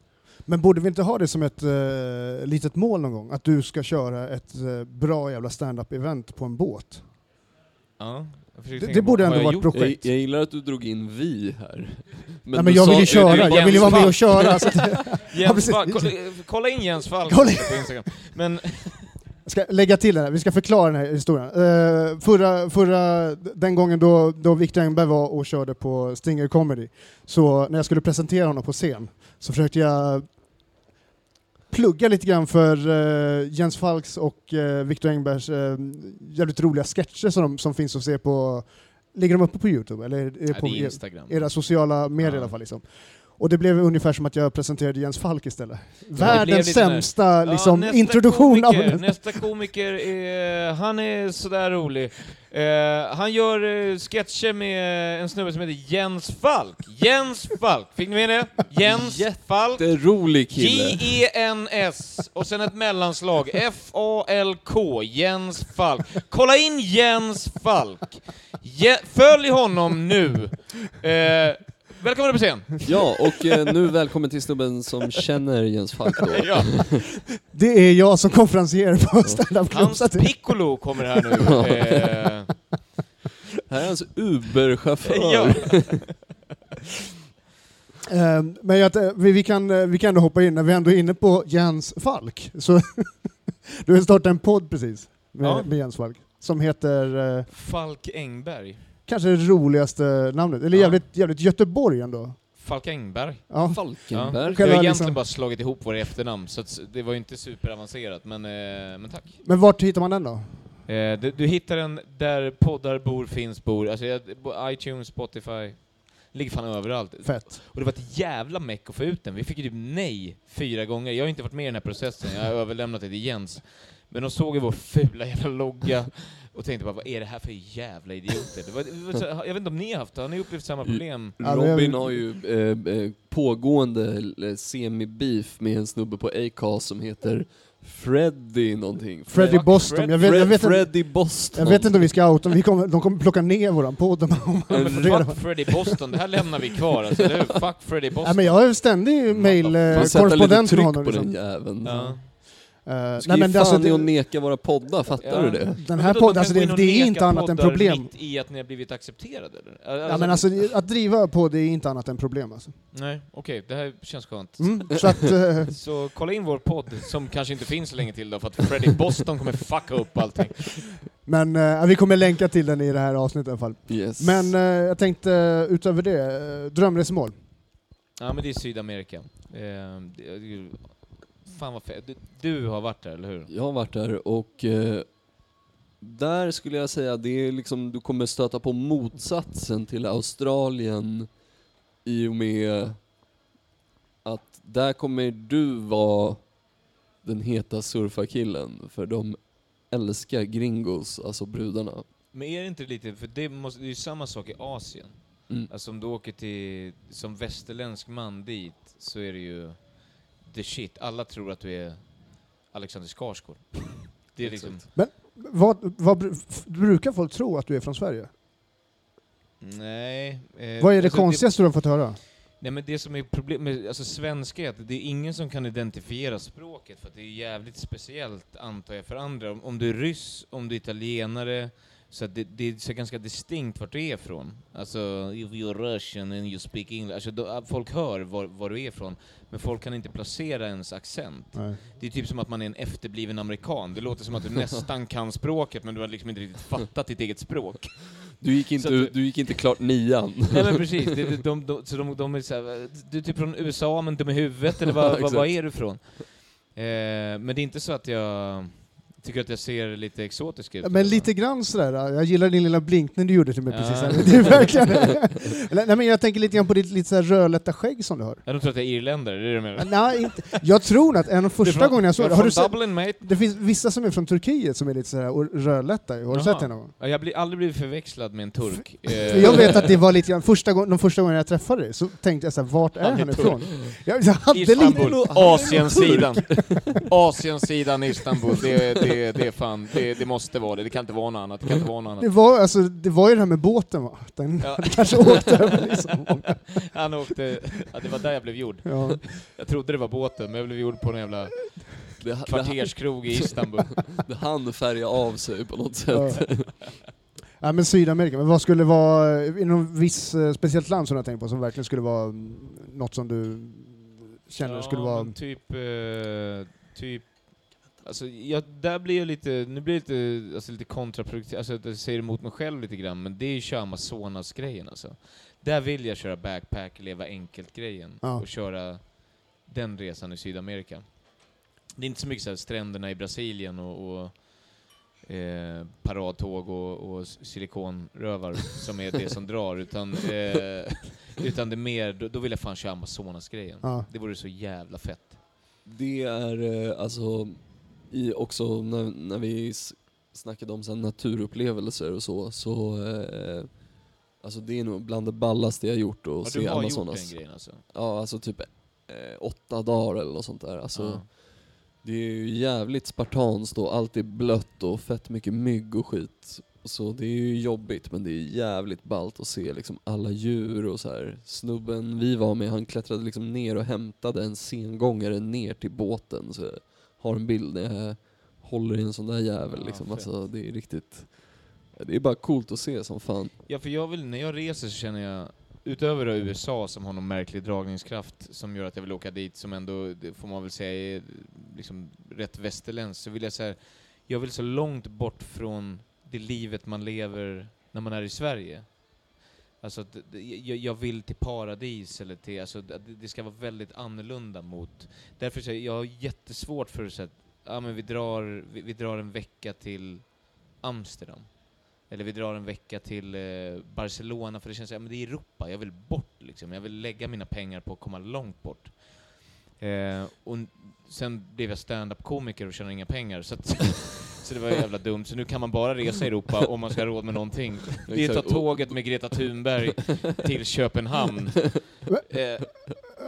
A: Men borde vi inte ha det som ett eh, litet mål någon gång? Att du ska köra ett eh, bra jävla stand-up-event på en båt?
D: Ja, jag försöker
A: Det-
D: tänka
A: det borde
D: på,
A: ändå
D: har jag
A: varit
D: gjort?
A: bra.
B: Jag,
A: Projekt.
B: jag gillar att du drog in vi här. Men,
A: Nej,
B: du
A: men jag
B: sa-
A: vill ju
D: du
A: köra, jag vill ju vara med och
D: Jens
A: köra. Så att Ja,
D: Jens
A: precis.
D: Falk, kolla, kolla in Jens Falk
A: Kolla in-
D: på Instagram. Men
A: jag ska lägga till den här, vi ska förklara den här historien. Eh, förra, förra, den gången då, då Victor Engberg var och körde på Stinger Comedy, så när jag skulle presentera honom på scen så försökte jag plugga lite grann för eh, Jens Falks och eh, Victor Engbergs eh, jävligt roliga sketcher som, de, som finns att se på, ligger de uppe på Youtube? Eller är det
D: ja,
A: på
D: det är Instagram.
A: era sociala medier
D: Ja.
A: i alla fall. Liksom. Och det blev ungefär som att jag presenterade Jens Falk istället.
D: blev
A: Världens
D: lite när-
A: sämsta
D: Ja,
A: liksom,
D: nästa
A: introduktion av
D: komiker, Nästa komiker, är, han är sådär rolig. Eh, han gör eh, sketcher med en snubbe som heter Jens Falk. Jens Falk, fick ni med det? Jens Falk.
B: Jätterolig kille.
D: J-E-N-S och sen ett mellanslag. F-A-L-K, Jens Falk. Kolla in Jens Falk! Je följ honom nu! Eh, välkommen upp på scen!
B: Ja, och eh, nu välkommen till snubben som känner Jens Falk då.
D: Ja.
A: Det är jag som konferencier på standup Club.
D: Hans
A: så att det-
D: Piccolo kommer här nu. Eh,
B: Här är hans Uber-chaufför.
D: Ja.
A: Eh, Men jag, t- vi, vi, kan, eh, vi kan ändå hoppa in, när vi ändå är inne på Jens Falk. Så du har startat en podd precis med,
D: Ja.
A: med Jens Falk som heter eh,
D: Falk Engberg.
A: kanske det roligaste namnet, eller
D: Ja.
A: jävligt, jävligt Göteborg ändå.
D: Falk Engberg.
A: Ja.
B: Falkenberg.
D: Jag har
A: Själva
D: egentligen
A: liksom-
D: bara slagit ihop våra efternamn, så att s- det var ju inte superavancerat, men, eh, men tack.
A: Men vart hittar man den då?
D: Eh, du, du hittar den där poddar bor finns bor, alltså jag, på iTunes, Spotify, ligger fan överallt.
A: Fett.
D: Och det var ett jävla meck att få ut den. Vi fick ju typ nej fyra gånger. Jag har inte varit med i den här processen, jag har överlämnat det till Jens. Men de såg ju vår fula jävla logga och tänkte bara, vad är det här för jävla idioter? Det var, det var så, jag vet inte om ni har haft det, har ni upplevt samma problem?
A: Ja, det är-
B: Robin har ju eh, eh, pågående eh, semi-beef med en snubbe på Acast som heter Freddy någonting.
A: Freddy
D: Fuck,
A: Boston. Jag vet,
B: Fred-
A: jag vet, inte-
B: Freddy Boston.
A: Jag vet inte om vi ska outa dem. vi kommer, de kommer plocka ner våran podd om om
D: Ja,
A: man
D: men
A: får reda på
D: fuck Freddy Boston, det här lämnar vi kvar alltså, eller hur? Fuck Freddy
A: Nej,
D: Boston.
A: men jag har ju ständig
B: Får sätta lite
A: mail-korrespondent med
B: tryck
A: honom.
B: på den
A: Liksom.
B: jäveln.
D: ja.
A: Eh,
B: Du ska
A: nej, men
B: ju
A: det, alltså,
B: fan i
A: det,
B: att neka våra poddar, fattar
D: Ja.
B: du det?
A: den
D: Men
A: här
D: vadå,
A: podden,
D: de
A: alltså,
D: kan
A: det,
D: gå in och
A: det är
D: neka
A: inte annat än
D: poddar
A: problem.
D: mitt i att ni har blivit accepterade? Eller? Alltså,
A: Ja, men alltså, att driva podd är inte annat än problem. Alltså.
D: Nej, okej, det här känns skönt.
A: Mm, så att, eh,
D: Så kolla in vår podd, som kanske inte finns så länge till då, för att Freddy Boston kommer fucka upp allting.
A: men eh, vi kommer länka till den i det här avsnittet i alla fall.
B: Yes.
A: Men eh, jag tänkte eh, utöver det, eh, drömresmål.
D: Ja, men det är Sydamerika. Eh, det- fan vad fett. Du, du har varit där, eller hur?
B: Jag har varit där och eh, där skulle jag säga det är liksom, du kommer stöta på motsatsen till Australien i och med att där kommer du vara den heta surfarkillen för de älskar gringos, alltså brudarna.
D: Men är det inte lite, för det, måste, det är ju samma sak i Asien.
B: Mm.
D: Alltså om du åker till, som västerländsk man dit, så är det ju the shit. Alla tror att du är Alexander Skarsgård. Det är liksom,
A: Men Vad, vad, bru- f- brukar folk tro att du är från Sverige?
D: Nej. eh,
A: Vad är det
D: alltså,
A: konstigaste du har fått höra?
D: Nej men det som är problemet med alltså, svenska är att det är ingen som kan identifiera språket för att det är jävligt speciellt antar jag för andra. Om, om du är ryss, om du är italienare, så att det, det är så ganska distinkt vart du är ifrån. Alltså, if you're Russian and you speak English. Alltså, då, folk hör var, var du är ifrån, men folk kan inte placera ens accent.
A: Nej.
D: Det är typ som att man är en efterbliven amerikan. Det låter som att du nästan kan språket men du har liksom inte riktigt fattat ditt eget språk.
B: Du gick inte,
D: Så att-
B: du gick inte klart nian.
D: Nej men precis, det, det, de, de, så de, de är så här, du är typ från USA men dum i huvudet eller
B: Ja,
D: vad, vad,
B: exakt.
D: vad är du ifrån? Eh, men det är inte så att jag tycker att jag ser lite exotisk ut.
A: Men lite grann sådär, eh, jag gillar din lilla blinkning du gjorde till mig
D: Ja.
A: precis här. Det är verkligen... Eller, nej, men jag tänker lite grann på ditt lite sådär rödlätta skägg som du har.
D: Ja, de tror att jag är irländare, det är det du menar?
A: Nej, inte. Jag tror att en av
D: Du är
A: första
D: från-
A: gången jag såg
D: är
A: det, har du
D: från
A: sett,
D: Dublin mate?
A: det finns vissa som är från Turkiet som är lite sådär or- rödlätta, har du
D: Jaha.
A: sett det någon gång?
D: Ja, Jag blir aldrig blivit förväxlad med en turk. Eh,
A: För jag vet att det var lite grann, första gången, de första gången jag träffade dig så tänkte jag såhär, vart är
D: Han är
A: han
D: turk.
A: ifrån? Jag, jag hade lite...
B: Han är
D: Istanbul,
B: nog-
D: Asiensidan. Asiensidan i Istanbul, det, det, det är fan, det, det måste vara det. Det kan inte vara något annat, det kan inte vara något
A: Det
D: annat.
A: var, alltså, det var ju det här med båten va? Den
D: Ja.
A: kanske åkte över liksom.
D: Han åkte, ja, det var där jag blev gjord.
A: Ja.
D: Jag trodde det var båten, men jag blev gjord på en jävla
B: Det, det, det,
D: kvarterskrog i Istanbul.
B: det hann färga av sig på något sätt.
A: Ja. ja men Sydamerika, men vad skulle vara, i någon viss eh, speciellt land som du har tänkt på som verkligen skulle vara mm, något som du känner skulle vara...
D: men typ, eh, typ, alltså jag, där blir jag lite, nu blir jag lite, alltså lite kontraproduktiv, alltså jag säger emot mig själv lite grann, men det är ju köra Amazonas-grejen alltså. Där vill jag köra backpack, leva enkelt-grejen
A: Ja.
D: och köra den resan i Sydamerika. Det är inte så mycket så här stränderna i Brasilien och, och eh, paradtåg och, och silikonrövar som är det som drar, utan, eh, utan det är mer, då, då vill jag fan köra Amazonas-grejen.
A: Ja.
D: Det vore så jävla fett.
B: Det är eh, alltså i också när, när vi s- snackade om så här naturupplevelser och så, så eh, alltså det är nog bland det ballaste jag gjort att se Amazonas.
D: grejen alltså?
B: Ja, alltså typ eh, åtta dagar eller något sånt där. Alltså, Det är ju jävligt spartanskt och allt är blött och fett mycket mygg och skit. Så det är ju jobbigt men det är jävligt ballt att se liksom alla djur och så här. Snubben vi var med han klättrade liksom ner och hämtade en sengångare ner till båten. Så jag har en bild när jag håller i en sån där jävel
D: Ja,
B: liksom.
D: fett.
B: Alltså det är riktigt... ja, Det är bara coolt att se som fan.
D: Ja, för jag vill, när jag reser så känner jag, utöver då USA som har någon märklig dragningskraft som gör att jag vill åka dit, som ändå, det får man väl säga, är liksom rätt västerländskt, så vill jag så här, jag vill så långt bort från det livet man lever när man är i Sverige. Alltså, att det- det- jag, jag vill till paradis eller till, alltså det det ska vara väldigt annorlunda mot, därför så här, jag har jättesvårt för så att, ja men vi drar, vi, vi drar en vecka till Amsterdam. Eller vi drar en vecka till eh, Barcelona, för det känns som men det är Europa, jag vill bort liksom. Jag vill lägga mina pengar på att komma långt bort. Eh, och n- sen blev jag stand-up-komiker och tjänade inga pengar, så, att, så det var jävla dumt. Så nu kan man bara resa i Europa om man ska ha råd med någonting. Det är att ta
B: Exakt. Och-
D: tåget med Greta Thunberg till Köpenhamn. Eh,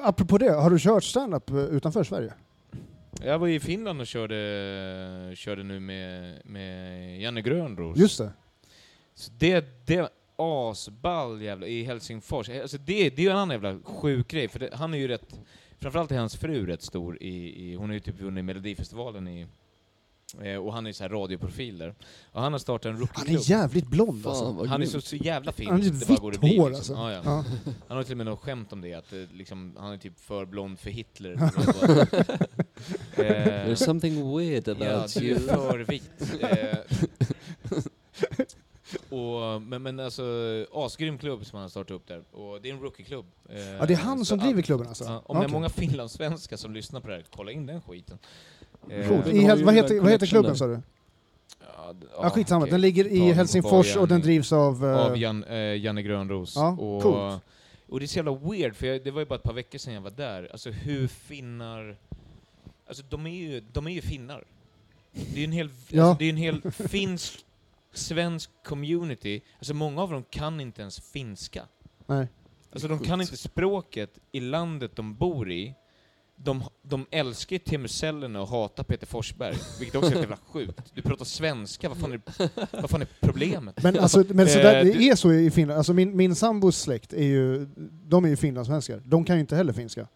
A: Apropå det, har du kört stand-up eh, utanför Sverige?
D: jag var i Finland och körde, körde nu med, med Janne Grönros.
A: Just det.
D: Så det, det var asball jävla, i Helsingfors. Alltså det, det är ju en annan jävla sjuk grej, för det, han är ju rätt, framförallt är hans fru rätt stor i, i hon är ju typ vunnit Melodifestivalen i, eh, och han är ju så här radioprofil där. Och han har startat en
A: Han
D: rookieklubb.
A: är jävligt blond
B: Fan
A: alltså.
B: vad
D: Han är
B: grymt.
D: så, så jävla fin.
A: Han är
D: så
A: vitt
D: bara går i bli,
A: hår,
D: liksom.
A: alltså.
D: ja, ja.
A: Ja.
D: Han har till och med något skämt om det, att eh, liksom, han är typ för blond för Hitler. Eh,
B: There's something weird
D: Ja,
B: about
D: du är
B: you.
D: för vit. Eh, och, men, men alltså, asgrym klubb som han har startat upp där. Och det är en rookie-klubb. Eh,
A: ja, det är han
D: så
A: som
D: att-
A: driver klubben alltså?
D: Ja, om
A: Okej.
D: det är många finlandssvenskar som lyssnar på det här, kolla in den skiten. Eh,
A: Coolt.
B: Den
A: I,
B: har
A: Hel-
B: ju
A: vad,
B: den
A: heter, vad heter
B: connection
A: klubben
B: där.
A: sa du?
D: ja, d-
A: Ja, skitsamma,
D: okej.
A: den ligger
D: Tagen
A: i
D: på
A: Helsingfors
D: Janne.
A: och den drivs av... eh,
D: Av Jan, eh, Janne Grönros.
A: Ja,
D: och,
A: coolt.
D: och det är så jävla weird, för jag, det var ju bara ett par veckor sedan jag var där. Alltså hur finnar... Alltså de är ju, de är ju finnar. Det är ju en hel,
A: Ja.
D: alltså, det är ju en hel finsk, svensk community. Alltså många av dem kan inte ens finska.
A: nej.
D: Alltså de kan inte språket i landet de bor i. de, de älskar ju Timmercellerna och hatar Peter Forsberg, vilket också är jävla sjukt. Du pratar svenska, vad fan är, vad fan är problemet?
A: Men, alltså, men sådär,
D: Eh,
A: det
D: du-
A: är så i Finland. Alltså min, min sambos släkt är ju, de är ju finlandssvenskar. De kan ju inte heller finska.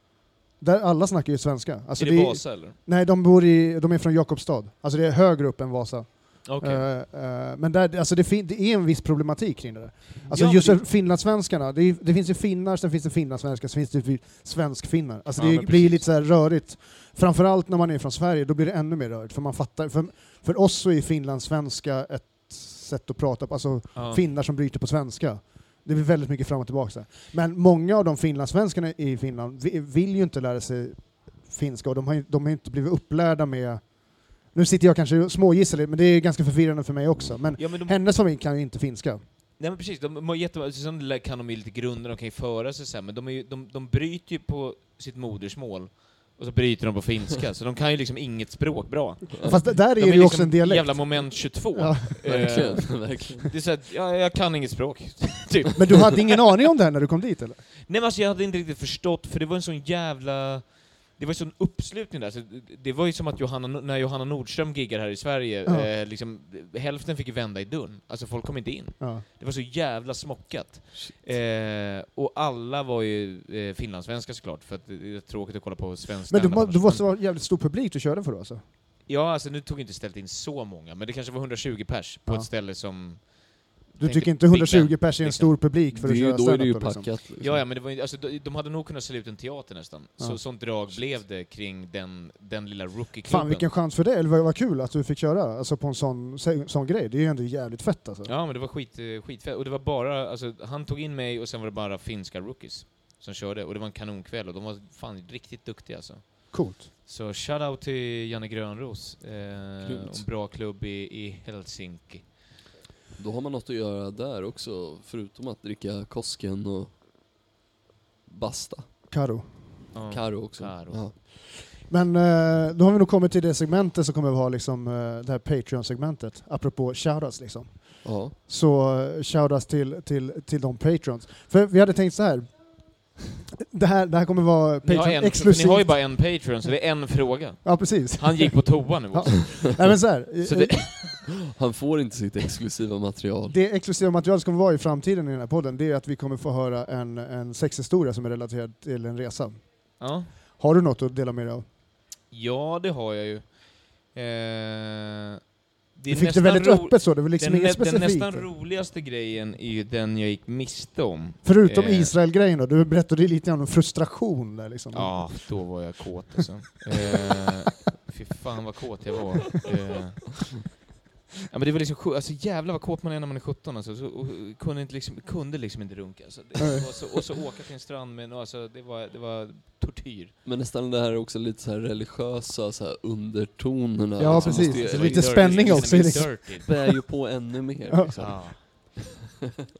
A: Där alla snackar ju svenska. Alltså
B: är
A: det
B: det
A: är-
B: Vasa eller?
A: nej, de, bor i, de är från Jakobstad. Alltså det är högre upp än Vasa.
B: Okej.
A: Eh, eh, men där, alltså det, fin- det är en viss problematik kring det där. Alltså
B: Ja, men
A: just
B: det-
A: det... finlandssvenskarna, det, är, ju- det finns ju finnar, sen finns det finlandssvenskar, sen finns det ju svenskfinnar. Alltså
D: Ja,
A: det
D: men
A: blir ju
D: precis.
A: lite så här rörigt. Framförallt när man är från Sverige, då blir det ännu mer rörigt. För, man fattar, för, för oss så är finlandssvenska ett sätt att prata på, alltså
D: Ja.
A: finnar som bryter på svenska. Det blir väldigt mycket fram och tillbaka. där. Men många av de finlandssvenskarna i Finland vi- vill ju inte lära sig finska och de har ju, de har ju inte blivit upplärda med... Nu sitter jag kanske och smågissar lite, men det är ganska förvirrande för mig också. Men
D: Ja, men de,
A: hennes familj kan ju inte finska.
D: nej men precis, de, de, de, sen kan de ju lite grunder, de kan ju föra sig sen, men de, är ju, de, de bryter ju på sitt modersmål, och så bryter de på finska, så de kan ju liksom inget språk bra.
A: Fast d- där är,
D: De
A: det ju
D: liksom
A: också en dialekt.
D: jävla moment 22.
A: Ja.
D: Eh,
B: Verkligen, verkligen.
D: det är såhär, ja, jag kan inget språk. typ.
A: Men du hade ingen aning om det här när du kom dit eller?
D: Nej men alltså jag hade inte riktigt förstått, för det var en sån jävla... Det var en sån uppslutning där, så det- det var ju som att Johanna, när Johanna Nordström giggar här i Sverige,
A: Ja.
D: eh, liksom, hälften fick ju vända i dörren. Alltså folk kom inte in.
A: Ja.
D: Det var så jävla smockat. Eh, och alla var ju eh, finlandssvenskar såklart, för att det är tråkigt att kolla på svensk
A: Men du,
D: standup
A: må-
D: annars.
A: du måste vara jävligt stor publik du körde för då alltså?
D: Ja, alltså nu tog inte ställt in så många, men det kanske var 120 pers på
A: Ja.
D: ett ställe som...
A: Du
D: Tänkte
A: tycker inte
D: Big
A: 120
D: Ben,
A: pers är en
D: liksom.
A: stor publik för
B: Det är
A: att
B: ju,
A: köra
B: då är det ju
A: standup då, liksom.
B: packat. Liksom.
D: Ja, ja, men det var, ju- alltså, de, de hade nog kunnat sälja ut en teater nästan.
A: Ja.
D: Så, sånt drag blev det kring den, den lilla rookie-klubben.
A: Fan vilken chans för dig, eller vad, vad kul att du fick köra alltså, på en sån, se- sån grej. Det är ju ändå jävligt fett alltså.
D: Ja, men det var skit, eh, skitfett. Och det var bara, alltså, han tog in mig och sen var det bara finska rookies som körde. Och det var en kanonkväll och de var fan riktigt duktiga alltså.
A: Coolt.
D: Så shout-out till Janne Grönros. Eh,
B: Grymt.
D: och en bra klubb i, i Helsinki.
B: Då har man något att göra där också, förutom att dricka Kosken och basta.
A: Karo.
D: Ja.
B: Karo också.
D: Karo.
B: Ja.
A: Men eh, då har vi nog kommit till det segmentet som kommer att vara liksom, eh, det här Patreon-segmentet, apropå shoutouts liksom.
B: ja.
A: så eh, shoutouts till, till, till de patrons. För vi hade tänkt så här. Det här, det här kommer vara
D: Ni har,
A: Patreon
D: en,
A: exklusivt.
D: ni har ju bara en Patreon, så det är en fråga.
A: Ja, precis.
D: Han gick på toa nu
A: Ja.
D: också.
A: Nej, men så här.
D: Så
A: eh,
D: det-
B: Han får inte sitt exklusiva material.
A: Det exklusiva material som kommer vara i framtiden i den här podden, det är att vi kommer få höra en, en sexhistoria som är relaterad till en resa.
D: Ja.
A: Har du något att dela med dig av?
D: Ja, det har jag ju. Eh, det är
A: Du fick det
D: nästan
A: väldigt
D: ro-
A: öppet så, det var liksom
D: den,
A: inget
D: nä- den
A: specifikt.
D: nästan roligaste grejen är ju den jag gick miste om.
A: Förutom
D: eh,
A: Israel-grejen då, du berättade ju lite grann om frustration där liksom.
D: Ja, då var jag kåt alltså. Eh, fy fan vad kåt jag var. Eh, ja, men det var liksom, sju- alltså jävlar vad kåt man är när man är 17 alltså. Så, och, och, kunde, inte liksom, kunde liksom inte runka. Alltså. Det
A: Nej.
D: var så, och så åka till en strand med en- alltså, det, var, det var tortyr.
B: Men nästan det här är också lite så här religiösa så här undertonerna.
A: Ja,
B: liksom,
A: precis.
B: måste
A: Så
B: ju-
A: lite spänning också,
D: Det
A: liksom.
D: dirty.
B: bär ju på ännu mer.
A: Ja.
B: Liksom.
D: Ja.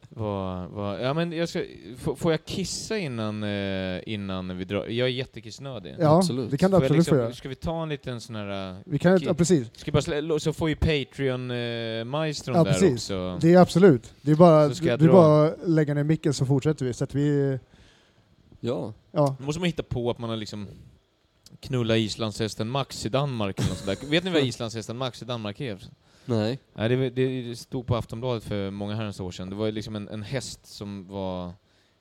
D: vad, vad, ja men jag ska, får- får jag kissa innan, eh, innan vi drar? Jag är jättekissnödig.
A: Ja,
B: absolut.
A: det kan du
D: Får jag liksom-
A: absolut få göra.
D: Ska vi ta en liten sån här... eh,
A: Vi kan, ja,
D: Okej.
A: precis.
D: Ska bara slä, lo- så får ju Patreon-maestron
A: Ja,
D: där
A: precis.
D: också.
A: Det är absolut. Det är bara,
D: Så ska jag
A: du
D: dra.
A: bara lägga ner micken så fortsätter vi. Så att vi,
B: Ja.
A: ja,
D: Då måste man hitta på att man har liksom knulla islandshästen Max i Danmark eller något sånt där. Vet ni vad islandshästen Max i Danmark är?
B: Nej.
D: Nej, det, det stod på Aftonbladet för många herrans år sedan. Det var ju liksom en, en häst som var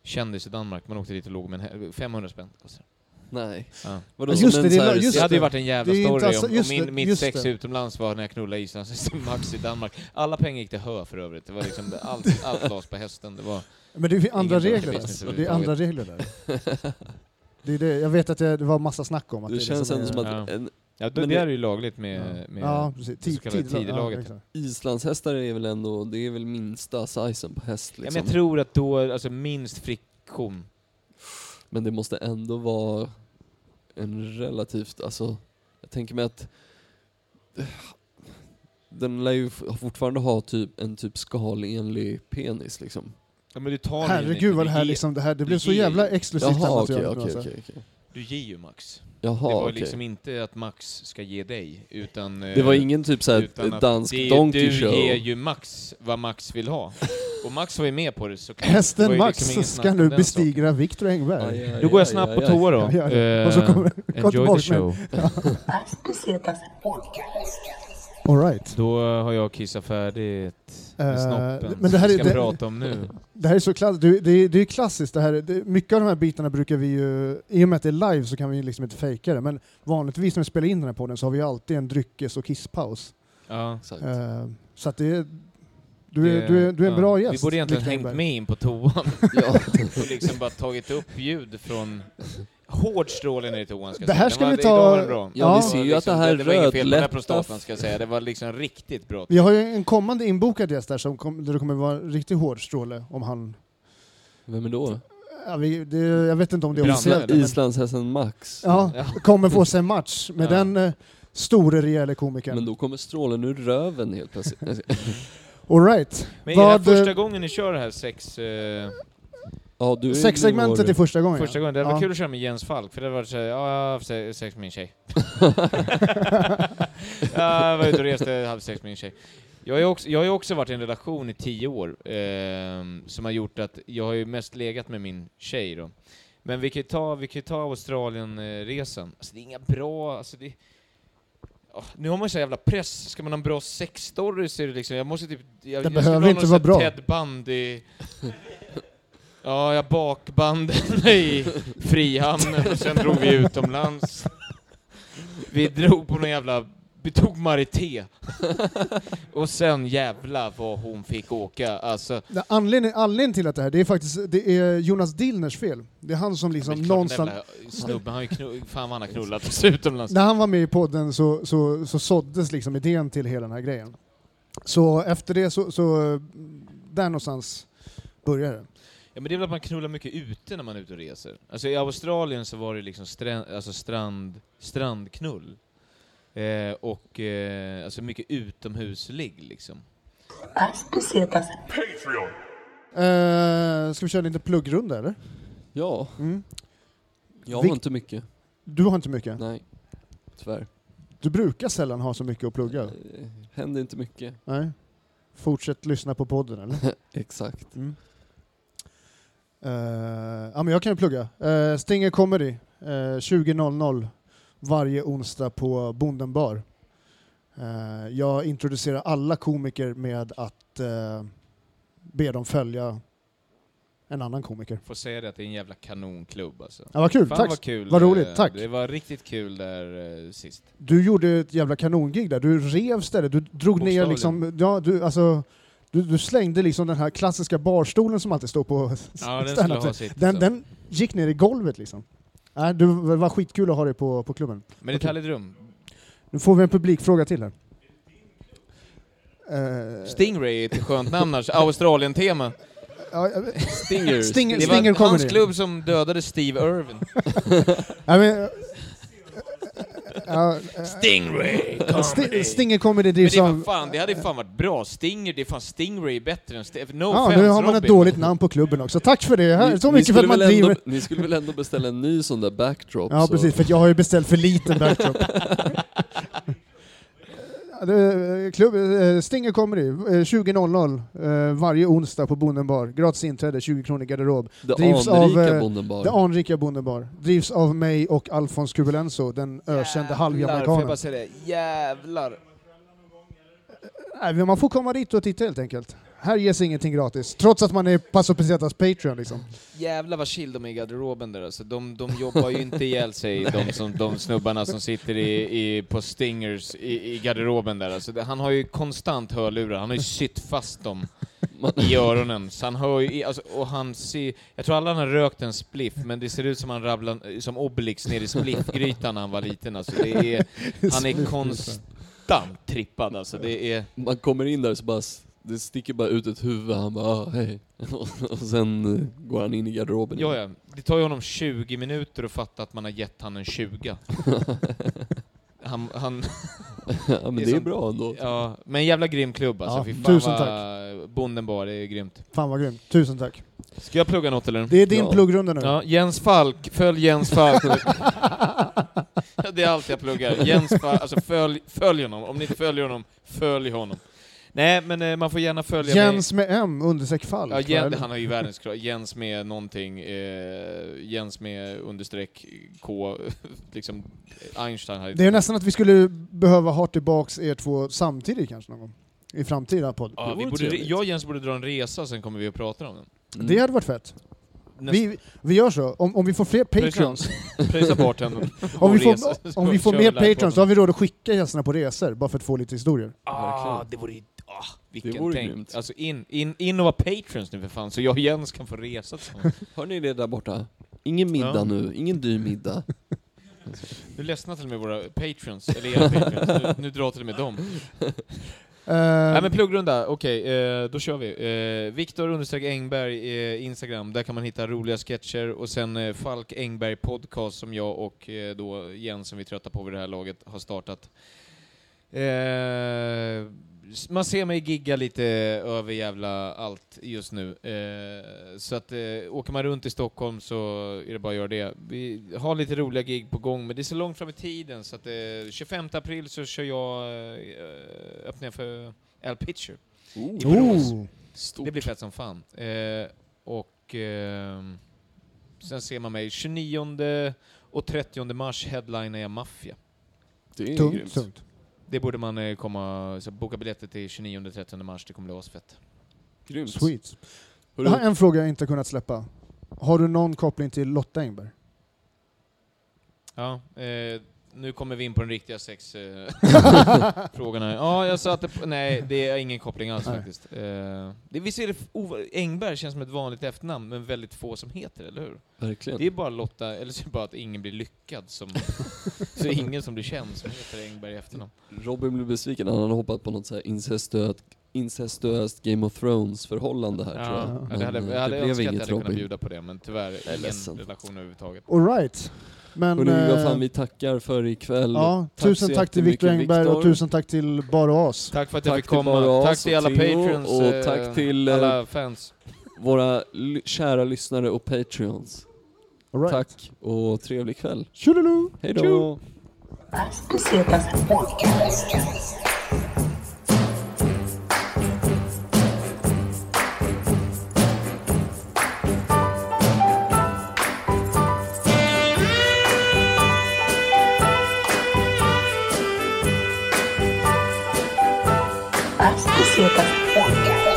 D: kändis i Danmark. Man åkte dit och låg med en hä- 500 spänn. kostade det.
B: Nej.
D: Ja.
B: Vadå,
A: Just
B: som
A: det,
B: en
A: det
B: så här-
A: la- just
D: det hade ju
A: det.
D: varit en jävla
A: Det är inte
D: story
A: alltså-
D: om, om
A: just
D: min,
A: det,
D: mitt
A: just
D: sex
A: det.
D: utomlands var när jag knullade islandshästen Max i Danmark. Alla pengar gick till hö för övrigt. Det var liksom, allt, allt lades på hästen. Det var,
A: Men det är ju andra
D: dålig
A: regler
D: business
A: där. Det är andra regler där. Det är det. Jag vet att det, det var massa snack om att
B: Det
A: är
B: känns
A: som
B: ändå som
A: är-
B: att
D: Ja.
B: en
D: ja, då,
B: Men
D: det Liksom.
B: det-
D: är ju lagligt med, med
A: Ja, precis.
D: det så kallade tidelaget.
A: Ja, exakt.
B: islandshästar är väl ändå, det är väl minsta sizen på häst
D: Ja,
B: liksom.
D: men jag tror att då, alltså minst friktion.
B: Men det måste ändå vara en relativt, alltså, jag tänker mig att eh, den lär ju f- fortfarande ha typ, en typ skalenlig penis liksom.
D: Ja, men du tar ju
A: Herregud vad det här
D: du,
A: liksom, det här, det blev
D: det
A: så
D: ger-
A: jävla exklusivt här
B: Jaha okej,
A: materialet nu,
B: okej,
A: alltså.
B: okej. okej.
D: Du ger ju Max. det
B: Jaha
D: var
B: okej.
D: liksom inte att Max ska ge dig, utan... eh,
B: Det var ingen typ såhär
D: utan att
B: dansk
D: det,
B: donkey
D: Du
B: show?
D: ger ju Max vad Max vill ha. Och Max var ju med på det såklart. Det var
A: Hästen
D: ju
A: Max
D: liksom inget snack
A: ska
D: om
A: nu
D: den saken.
A: bestigra Viktor Engberg.
B: Aj, aj,
D: Då går jag
B: aj,
D: snabbt
B: aj,
D: på
B: aj.
D: toa då.
A: Ja, ja, ja. Och så
D: Eh,
A: kommer- gå
D: enjoy
A: tillbaka
D: the show.
C: As cositas podcast.
A: All right.
D: Då har jag kissat färdigt med
A: Eh,
D: snoppen.
A: men det här är-
D: Vad ska
A: det-
D: jag prata om nu?
A: Det här är så klassiskt. Det, det, det är ju klassiskt det här. Det, mycket av de här bitarna brukar vi ju, i och med att det är live så kan vi ju liksom inte fejka det, men vanligtvis när vi spelar in den här podden så har vi ju alltid en dryckes och kisspaus.
D: Ja.
B: Exakt.
A: Eh, så att det är, du, är,
D: Det-
A: du, är, du är en
D: Eh, ja.
A: bra gäst.
D: Vi borde egentligen
A: Viktor
D: hängt
A: Engberg.
D: med in på toan
B: Ja.
D: och liksom bara tagit upp ljud från hård stråle ner i toan ska jag
A: Det här
D: säga.
A: ska
D: Den var-
A: vi ta-
D: idag var den bra.
A: Ja, vi
D: Det var
B: ser ju att det här
D: det, det var inget fel på den här
B: rödlätta-
D: prostatan ska jag säga. Det var liksom riktigt bra.
A: Vi har ju en kommande inbokad gäst där, som kom, där det kommer vara en riktigt hård stråle om han...
B: Vem är då?
A: Ja, vi, det, jag vet inte om det är
D: Branne,
A: officiellt. men-
B: Islandshästen Max.
A: Ja,
D: Ja.
A: kommer få sig en match med
D: Ja.
A: den eh, store rejäle
B: Men
A: komikern.
B: då kommer strålen ur röven helt plötsligt.
A: Alright.
D: Men är det här
A: Vad, eh,
D: första gången ni kör det här sex... Eh,
B: Ja, du är
A: Sexsegmentet
B: junior.
A: är första gången.
D: första gången? Det hade
A: ja.
D: varit kul att köra med Jens Falk, för det hade varit såhär, ja, jag har haft se- sex med min tjej. ja, jag var ute och reste, jag hade sex med min tjej. Jag har ju också, jag har ju också varit i en relation i tio år, ehm, som har gjort att jag har ju mest legat med min tjej då. Men vi kan ju ta, vi kan ju ta Australienresan. Alltså det är inga bra, alltså det... Åh, nu har man ju så jävla press, ska man ha en bra sexstory så är det liksom, jag måste typ... Jag,
A: Den
D: jag
A: behöver
D: skulle vilja
A: inte
D: ha någon
A: vara
D: sån
A: bra.
D: här Ted Bundy... Ja, jag bakbandade i Frihamnen och sen drog vi utomlands. Vi drog på någon jävla... Vi tog Marité. Och sen jävla vad hon fick åka. Alltså,
A: Nej, Anledningen, anledningen till att det här, det är faktiskt det är Jonas Dillners fel. Det är han som liksom
D: men klart,
A: någonstans...
D: den jävla Snubben, han har ju knu- fan vad han har knullat utomlands.
A: När han var med i podden så, så, så såddes liksom idén till hela den här grejen. Så efter det så, så eh, där någonstans började det.
D: Ja, men det är väl att man knullar mycket ute när man är ute och reser. Alltså i Australien så var det liksom strä- alltså strand, strandknull. Eh, och eh, alltså mycket utomhusligg liksom.
C: As cositas
A: Eh, ska vi köra lite pluggrunda eller?
B: Ja,
A: Mm.
B: jag
A: Vikt-
B: har inte mycket.
A: Du har inte mycket?
B: Nej. Tyvärr.
A: Du brukar sällan ha så mycket att plugga?
B: Eh, Händer inte mycket.
A: Nej. Fortsätt lyssna på podden eller?
B: Exakt.
A: Eh, ja, men jag kan ju plugga. Eh, Stinger Comedy, eh, 20.00 varje onsdag på Bonden bar. Eh, jag introducerar alla komiker med att eh, be dem följa en annan komiker.
D: Får säga det att det är en jävla kanonklubb alltså.
A: Ja, vad kul,
D: Fan
A: tack!
D: vad kul.
A: Vad
D: eh,
A: roligt, tack.
D: Det var riktigt kul där eh, sist.
A: Du gjorde ett jävla kanongig där, du rev stället, du drog ner
D: Bokstavligen.
A: liksom, ja, du, alltså, du, du slängde liksom den här klassiska barstolen som alltid står på
D: Ja, den skulle
A: stand-up.
D: ha sitt.
A: den,
D: så.
A: den gick ner i golvet liksom. Nej, det var skitkul att ha dig på, på klubben.
D: men det är ett härligt rum.
A: Nu får vi en publikfråga till här. Eh,
D: Stingray är ett skönt namn annars. Australien-tema.
A: ja, jag vet-
B: Stinger.
A: Stinger-
D: Det var
A: Stinger
D: hans
A: Comedy.
D: klubb som dödade Steve Irwin.
A: nej, men, eh, ja, eh,
D: Stingray!
A: Sti- Stinger Comedy
D: Men
A: drivs
D: det, var
A: av...
D: fan, det hade ju fan varit bra. Stinger, det är fan Stingray är bättre än Steve. No
A: Ja,
D: offense
A: nu har man ett
D: Robin.
A: dåligt namn på klubben också. Tack för det! Här, så mycket
B: Ni- ni
A: för att
B: skulle
A: man
B: väl ändå-
A: driver...
B: Ni skulle väl ändå beställa en ny sån där backdrop?
A: Ja,
B: så-
A: precis. För att jag har ju beställt för liten backdrop. Ja, det är, eh, Klubb, eh, Stinger Comedy, eh, 20.00 eh, varje onsdag på Bonden bar. Gratis inträde, 20 kronor garderob.
B: Det
A: drivs av,
B: anrika
A: eh,
B: bonden bar.
A: Det anrika Bondebar drivs av mig och Alfons Kubelenso, den ökände
D: Jävlar, får jag bara
A: halvjamarikanen.
D: säga det? Jävlar.
A: Nej, men Man får komma dit och titta helt enkelt. Här ges ingenting gratis, trots att man är Paso Pesetas Patreon. Liksom.
D: Jävlar vad chill de är i garderoben där alltså. De, de jobbar ju inte ihjäl sig, de, som, de snubbarna som sitter i, i, på Stingers i, i garderoben där alltså. Det- Han har ju konstant hörlurar, han har ju sytt fast dem
B: Man-
D: i öronen. Så han hör ju, i- alltså, och han ser, jag tror alla han har rökt en spliff, men det ser ut som han rabblar, som Obelix ner i spliffgrytan när han var liten alltså. Det är, han är konstant trippad alltså. Det är...
B: Man kommer in där så bara, s- det sticker bara ut ett huvud, han bara ah, hej. Och sen eh, går han in i garderoben.
D: Ja, ja. Det tar ju honom 20 minuter att fatta att man har gett han en 20. han, han,
B: ja men
D: Det är
B: det är
D: som-
B: bra ändå.
D: ja, men en jävla grym klubb alltså.
A: Ja,
D: Fy fan
A: tusen
D: vad... Bonden bar, det är grymt.
A: Fan vad grymt, tusen tack.
D: Ska jag plugga något eller?
A: Det är din
B: Ja.
A: pluggrunda nu.
D: Ja, Jens Falk, följ Jens Falk. det är allt jag pluggar. Jens Falk, alltså följ, följ honom. Om ni inte följer honom, följ honom. Nej, men eh, man får gärna följa
A: Jens med M, understreck fall.
D: mig. Ja,
A: tror jag,
D: Jens,
A: eller?
D: han har ju världens krav. Jens med någonting, eh, Jens med understreck K, liksom Einstein här.
A: Det är ju nästan att vi skulle behöva ha tillbaks er två samtidigt kanske någon gång. I framtida podd.
D: ja, vi
B: vore
D: borde,
B: trevligt.
D: jag och Jens borde dra en resa, sen kommer vi att prata om den.
B: Mm.
A: Det hade varit fett.
D: Nästa-
A: Vi, vi gör så. Om, om vi får fler patreons,
D: Pröjsa bartendern.
A: om vi får,
D: Resa.
A: om vi får
D: Kör
A: mer
D: vi live på
A: patreons, då har vi råd att skicka gästerna på resor bara för att få lite historier.
D: Ah,
B: Verkligen.
D: det vore ju... Ah, vilken
B: Det vore
D: tänk.
B: grymt.
D: Alltså in, in, in och vara patrons nu för fan, så jag och Jens kan få resa tillsammans.
B: Hör ni det där borta? Ingen middag
D: Ja.
B: nu, ingen dyr middag.
D: Nu ledsnar till och med våra patrons, eller era patrons. Nu, nu drar till och med dem.
A: Eh,
D: Nej men pluggrunda, okej, eh, då kör vi. Eh, Viktor understreck Engberg, eh, Instagram, där kan man hitta roliga sketcher, och sen eh, Falk Engberg podcast som jag och eh, då Jens, som vi är trötta på vid det här laget, har startat. Eh, s- man ser mig gigga lite över jävla allt just nu. Eh, så att eh, åker man runt i Stockholm så är det bara att göra det. Vi har lite roliga gig på gång, men det är så långt fram i tiden så att eh, 25 april så kör jag, eh, öppnar jag för Al Pitcher.
A: oh.
D: Det blir fett som fan. Eh, och ehm, sen ser man mig 29 och 30 mars headlinar jag Mafia.
B: Det är
A: Tungt,
B: grymt.
A: tungt.
D: Det borde man eh, komma, så boka biljetter till 29 och 30 mars, det kommer bli asfett.
B: Grymt.
A: Sweet.
B: Hörru,
A: Jag har en fråga jag inte kunnat släppa. Har du någon koppling till Lotta Engberg?
D: Ja, eh, nu kommer vi in på den riktiga sex eh, frågorna. Ja, jag sa att det, nej, det är ingen koppling alls
A: Nej.
D: faktiskt. Eh, det, visst är det, f- ov- Engberg känns som ett vanligt efternamn, men väldigt få som heter det, eller hur?
B: Verkligen.
D: Det är bara Lotta, eller så är det bara att ingen blir lyckad som... så är ingen som blir känd som heter Engberg i efternamn.
B: Robin blev besviken, han hade hoppat på något så här incestuöst, incestuöst Game of Thrones förhållande här tror jag.
D: Ja,
A: jag.
D: jag hade,
B: Men
D: jag hade
B: det blev
D: önskat att jag
B: inget
D: hade kunnat
B: Robin.
D: bjuda på det, men tyvärr ingen
B: ledsen.
D: relation överhuvudtaget.
A: Alright. Men...
B: Hörru, vad
A: eh,
B: fan vi tackar för ikväll.
A: ja,
B: Tack
A: tusen
B: så
A: tack till Viktor
B: jättemycket,
A: Engberg och
B: Viktor.
A: tusen tack till Bar och As.
D: Tack för att jag
B: Tack
D: fick
B: till
D: komma.
B: bara
D: tack
B: oss
D: till
B: och
D: alla
B: Theo,
D: patreons,
B: och
D: eh,
B: tack till, eh,
D: alla fans.
B: Våra ly- kära lyssnare och patreons.
A: Alright.
B: Tack och trevlig kväll.
A: Tjolilu!
B: Hej då!
C: As pesetas. Podcast. As pesetas. Podcast.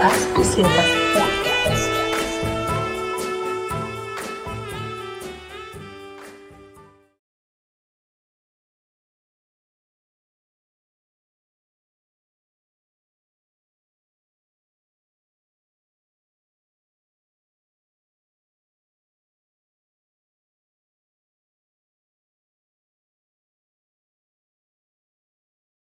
C: As pesetas.